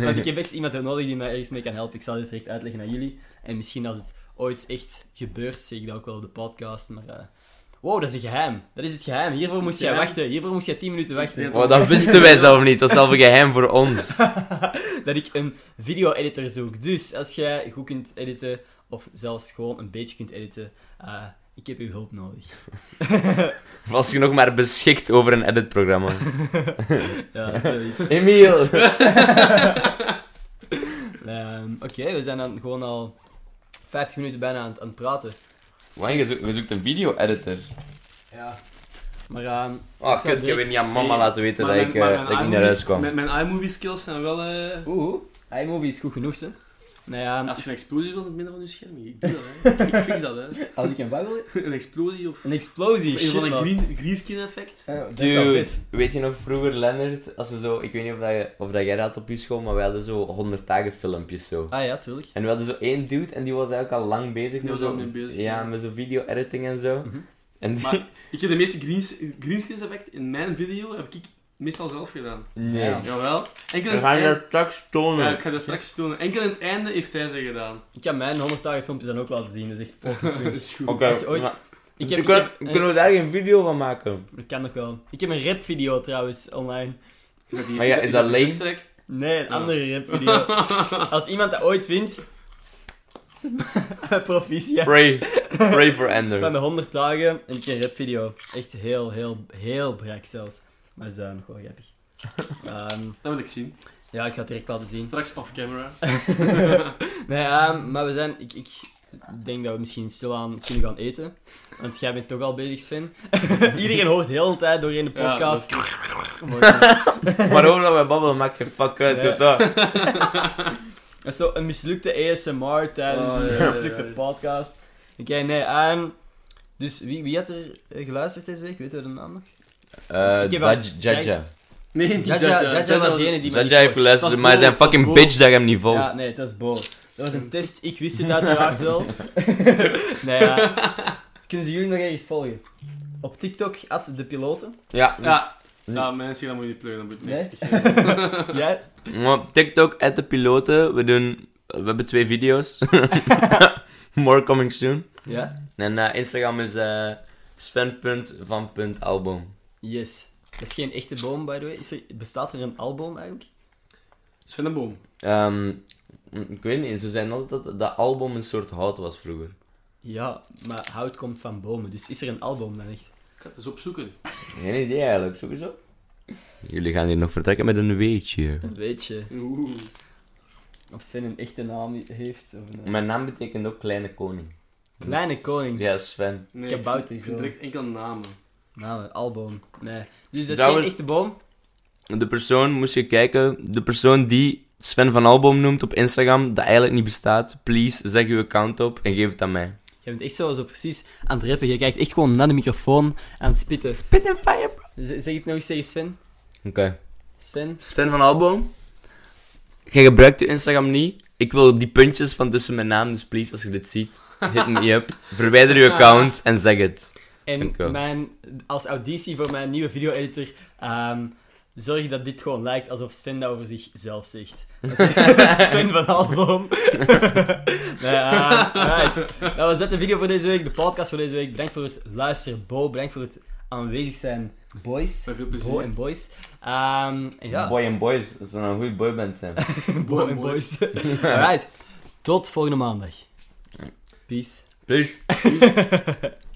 <laughs> Want ik heb echt iemand nodig die mij ergens mee kan helpen. Ik zal dit direct uitleggen aan jullie. En misschien als het ooit echt gebeurt, zeg ik dat ook wel op de podcast, maar... eh, wow, dat is een geheim. Dat is het geheim. Hiervoor moest jij Geheim? wachten. Hiervoor moest jij 10 minuten wachten. Ja. Oh, dat wisten wij zelf niet. Dat was zelf een geheim voor ons. Dat ik een video-editor zoek. Dus als jij goed kunt editen, of zelfs gewoon een beetje kunt editen, eh, ik heb uw hulp nodig. Of als je nog maar beschikt over een editprogramma. Ja, zoiets. <laughs> Emiel! Ehm, Oké, we zijn dan gewoon al 50 minuten bijna aan, het- aan het praten. Man, je, zoekt, je zoekt een video-editor. Ja. Maar ehm, Oh, Ik zou kut, ik heb direct- weer niet aan mama Nee, laten weten dat Maar ik, mijn- maar eh, mijn dat ik niet iMovie- naar huis kwam. Mijn, mijn iMovie skills zijn wel... eh, oeh, iMovie is goed genoeg, hè. Nou ja, Als je een explosie wilt in het midden van je scherm, ik doe dat, <laughs> hè. Ik fix dat, hè. als ik een wat wil... Een explosie of... Een explosie, Een shit, van een man. green, greenskin effect. Eh, dat is al Dude, vet. weet je nog vroeger, Lennart, als we zo, ik weet niet of, dat je, of dat jij dat had op je school, maar wij hadden zo 100 dagen filmpjes zo. Ah ja, tuurlijk. En we hadden zo één dude en die was eigenlijk al lang bezig Die met was zo, al mee bezig, ja, ja. met zo video-editing en zo. Mhm. En die- Maar ik heb de meeste greens, greenskins effect in mijn video, heb ik meestal zelf gedaan. nee. Ja. Jawel. Enkel in We het gaan einde... er straks tonen. Ja, ik ga dat straks tonen. Enkel in het einde heeft hij ze gedaan. Ik kan mijn 100 dagen filmpjes dan ook laten zien, dus dat is echt fucking <laughs> Dat cringe. is goed. Oké, Als je ooit- maar- Ik heb, ik Kun- heb, kunnen we daar geen video van <laughs> maken? dat kan nog wel. Ik heb een rap video trouwens online. Is dat die- Maar ja, is dat die lame? best track? Nee, een Ja. andere rap video. Als iemand dat ooit vindt, <laughs> proficiat. Pray. Pray for Van <laughs> Ender. de 100 dagen en ik heb een rap video. Echt heel, heel, heel brak zelfs. Maar is dat nog wel <laughs> grappig. Ehm, <laughs> Dat wil ik zien. ja, ik ga het direct laten zien. <laughs> Straks off camera. <laughs> Nee, ehm, maar we zijn. Ik, ik denk dat we misschien stilaan kunnen gaan eten. Want jij bent toch al bezig, <laughs> Sven. Iedereen hoort heel de hele tijd doorheen de Ja, podcast. dat Maar ook dat we babbelen, maakt geen fuck Ja. uit. doe dat. Dat is zo een mislukte ASMR tijdens Oh, een ja, ja, mislukte ja, ja. podcast. Oké, nee. ehm, dus wie, wie had er eh, geluisterd deze week? Weten we de naam <laughs> nog? Eh, Ik heb wel- Daj- Jaja. <laughs> Nee, die Jaja, Jaja, was degene die mij Jaja heeft niet geluisterd, Dat maar is zijn Bo, fucking dat is Bo. bitch dat je hem niet volgt. volgt. Ja, nee, dat is Bo. Dat was een test. Ik wist het uiteraard <laughs> wel. nee, ja. <laughs> Kunnen ze jullie nog ergens volgen? Op TikTok, at de piloten. Ja. Ja. Ja, mensen, dat moet je niet pleuren. Dat moet je Nee? niet. Nee. <laughs> Jij? Maar op TikTok, at de piloten. We doen... We hebben twee video's. More coming soon. Ja? En eh, Instagram is eh sven.van.album. Yes. Dat is geen echte boom, by the way. Is er, bestaat er een album eigenlijk? Sven de Boom. Ehm, ik weet niet, ze zijn altijd dat, dat album een soort hout was vroeger. Ja, maar hout komt van bomen, dus is er een album dan echt? Ik ga het eens opzoeken. Geen idee eigenlijk, sowieso. Jullie gaan hier nog vertrekken met een weetje. Dan weet je Oeh. of Sven een echte naam heeft. Of een... Mijn naam betekent ook kleine koning. Kleine koning. Ja, Sven. Nee, Ik heb Bout Ik hier vind direct enkel namen. Nou, een album. Nee. Dus dat is Dat geen was- echte boom? De persoon, moest je kijken, de persoon die Sven van Alboom noemt op Instagram, dat eigenlijk niet bestaat, please zeg uw account op en geef het aan mij. Je bent echt zo, zo precies aan het rappen. Je kijkt echt gewoon naar de microfoon aan het spitten. Spit and fire, bro. Z- zeg het nog eens tegen Sven. Oké. Sven. Sven van Alboom, jij gebruikt uw Instagram niet. Ik wil die puntjes van tussen mijn naam, dus please, als je dit ziet, hit me up. Verwijder uw account en zeg het. En Dank u wel. mijn, als auditie voor mijn nieuwe video-editor, ehm, zorg dat dit gewoon lijkt alsof Sven dat over zichzelf zegt. <laughs> <laughs> Sven van Alboom. <laughs> nee, ehm, right. Dat was dat de video voor deze week, de podcast voor deze week. Bedankt voor het luisteren, Bo. Bedankt voor het aanwezig zijn, boys. Met veel Bo plezier. en boys. Ehm, en ja, Boy and boys, dat is een goede boyband <laughs> zijn. <laughs> Bo en boys. Alright, tot volgende maandag. Peace. Please.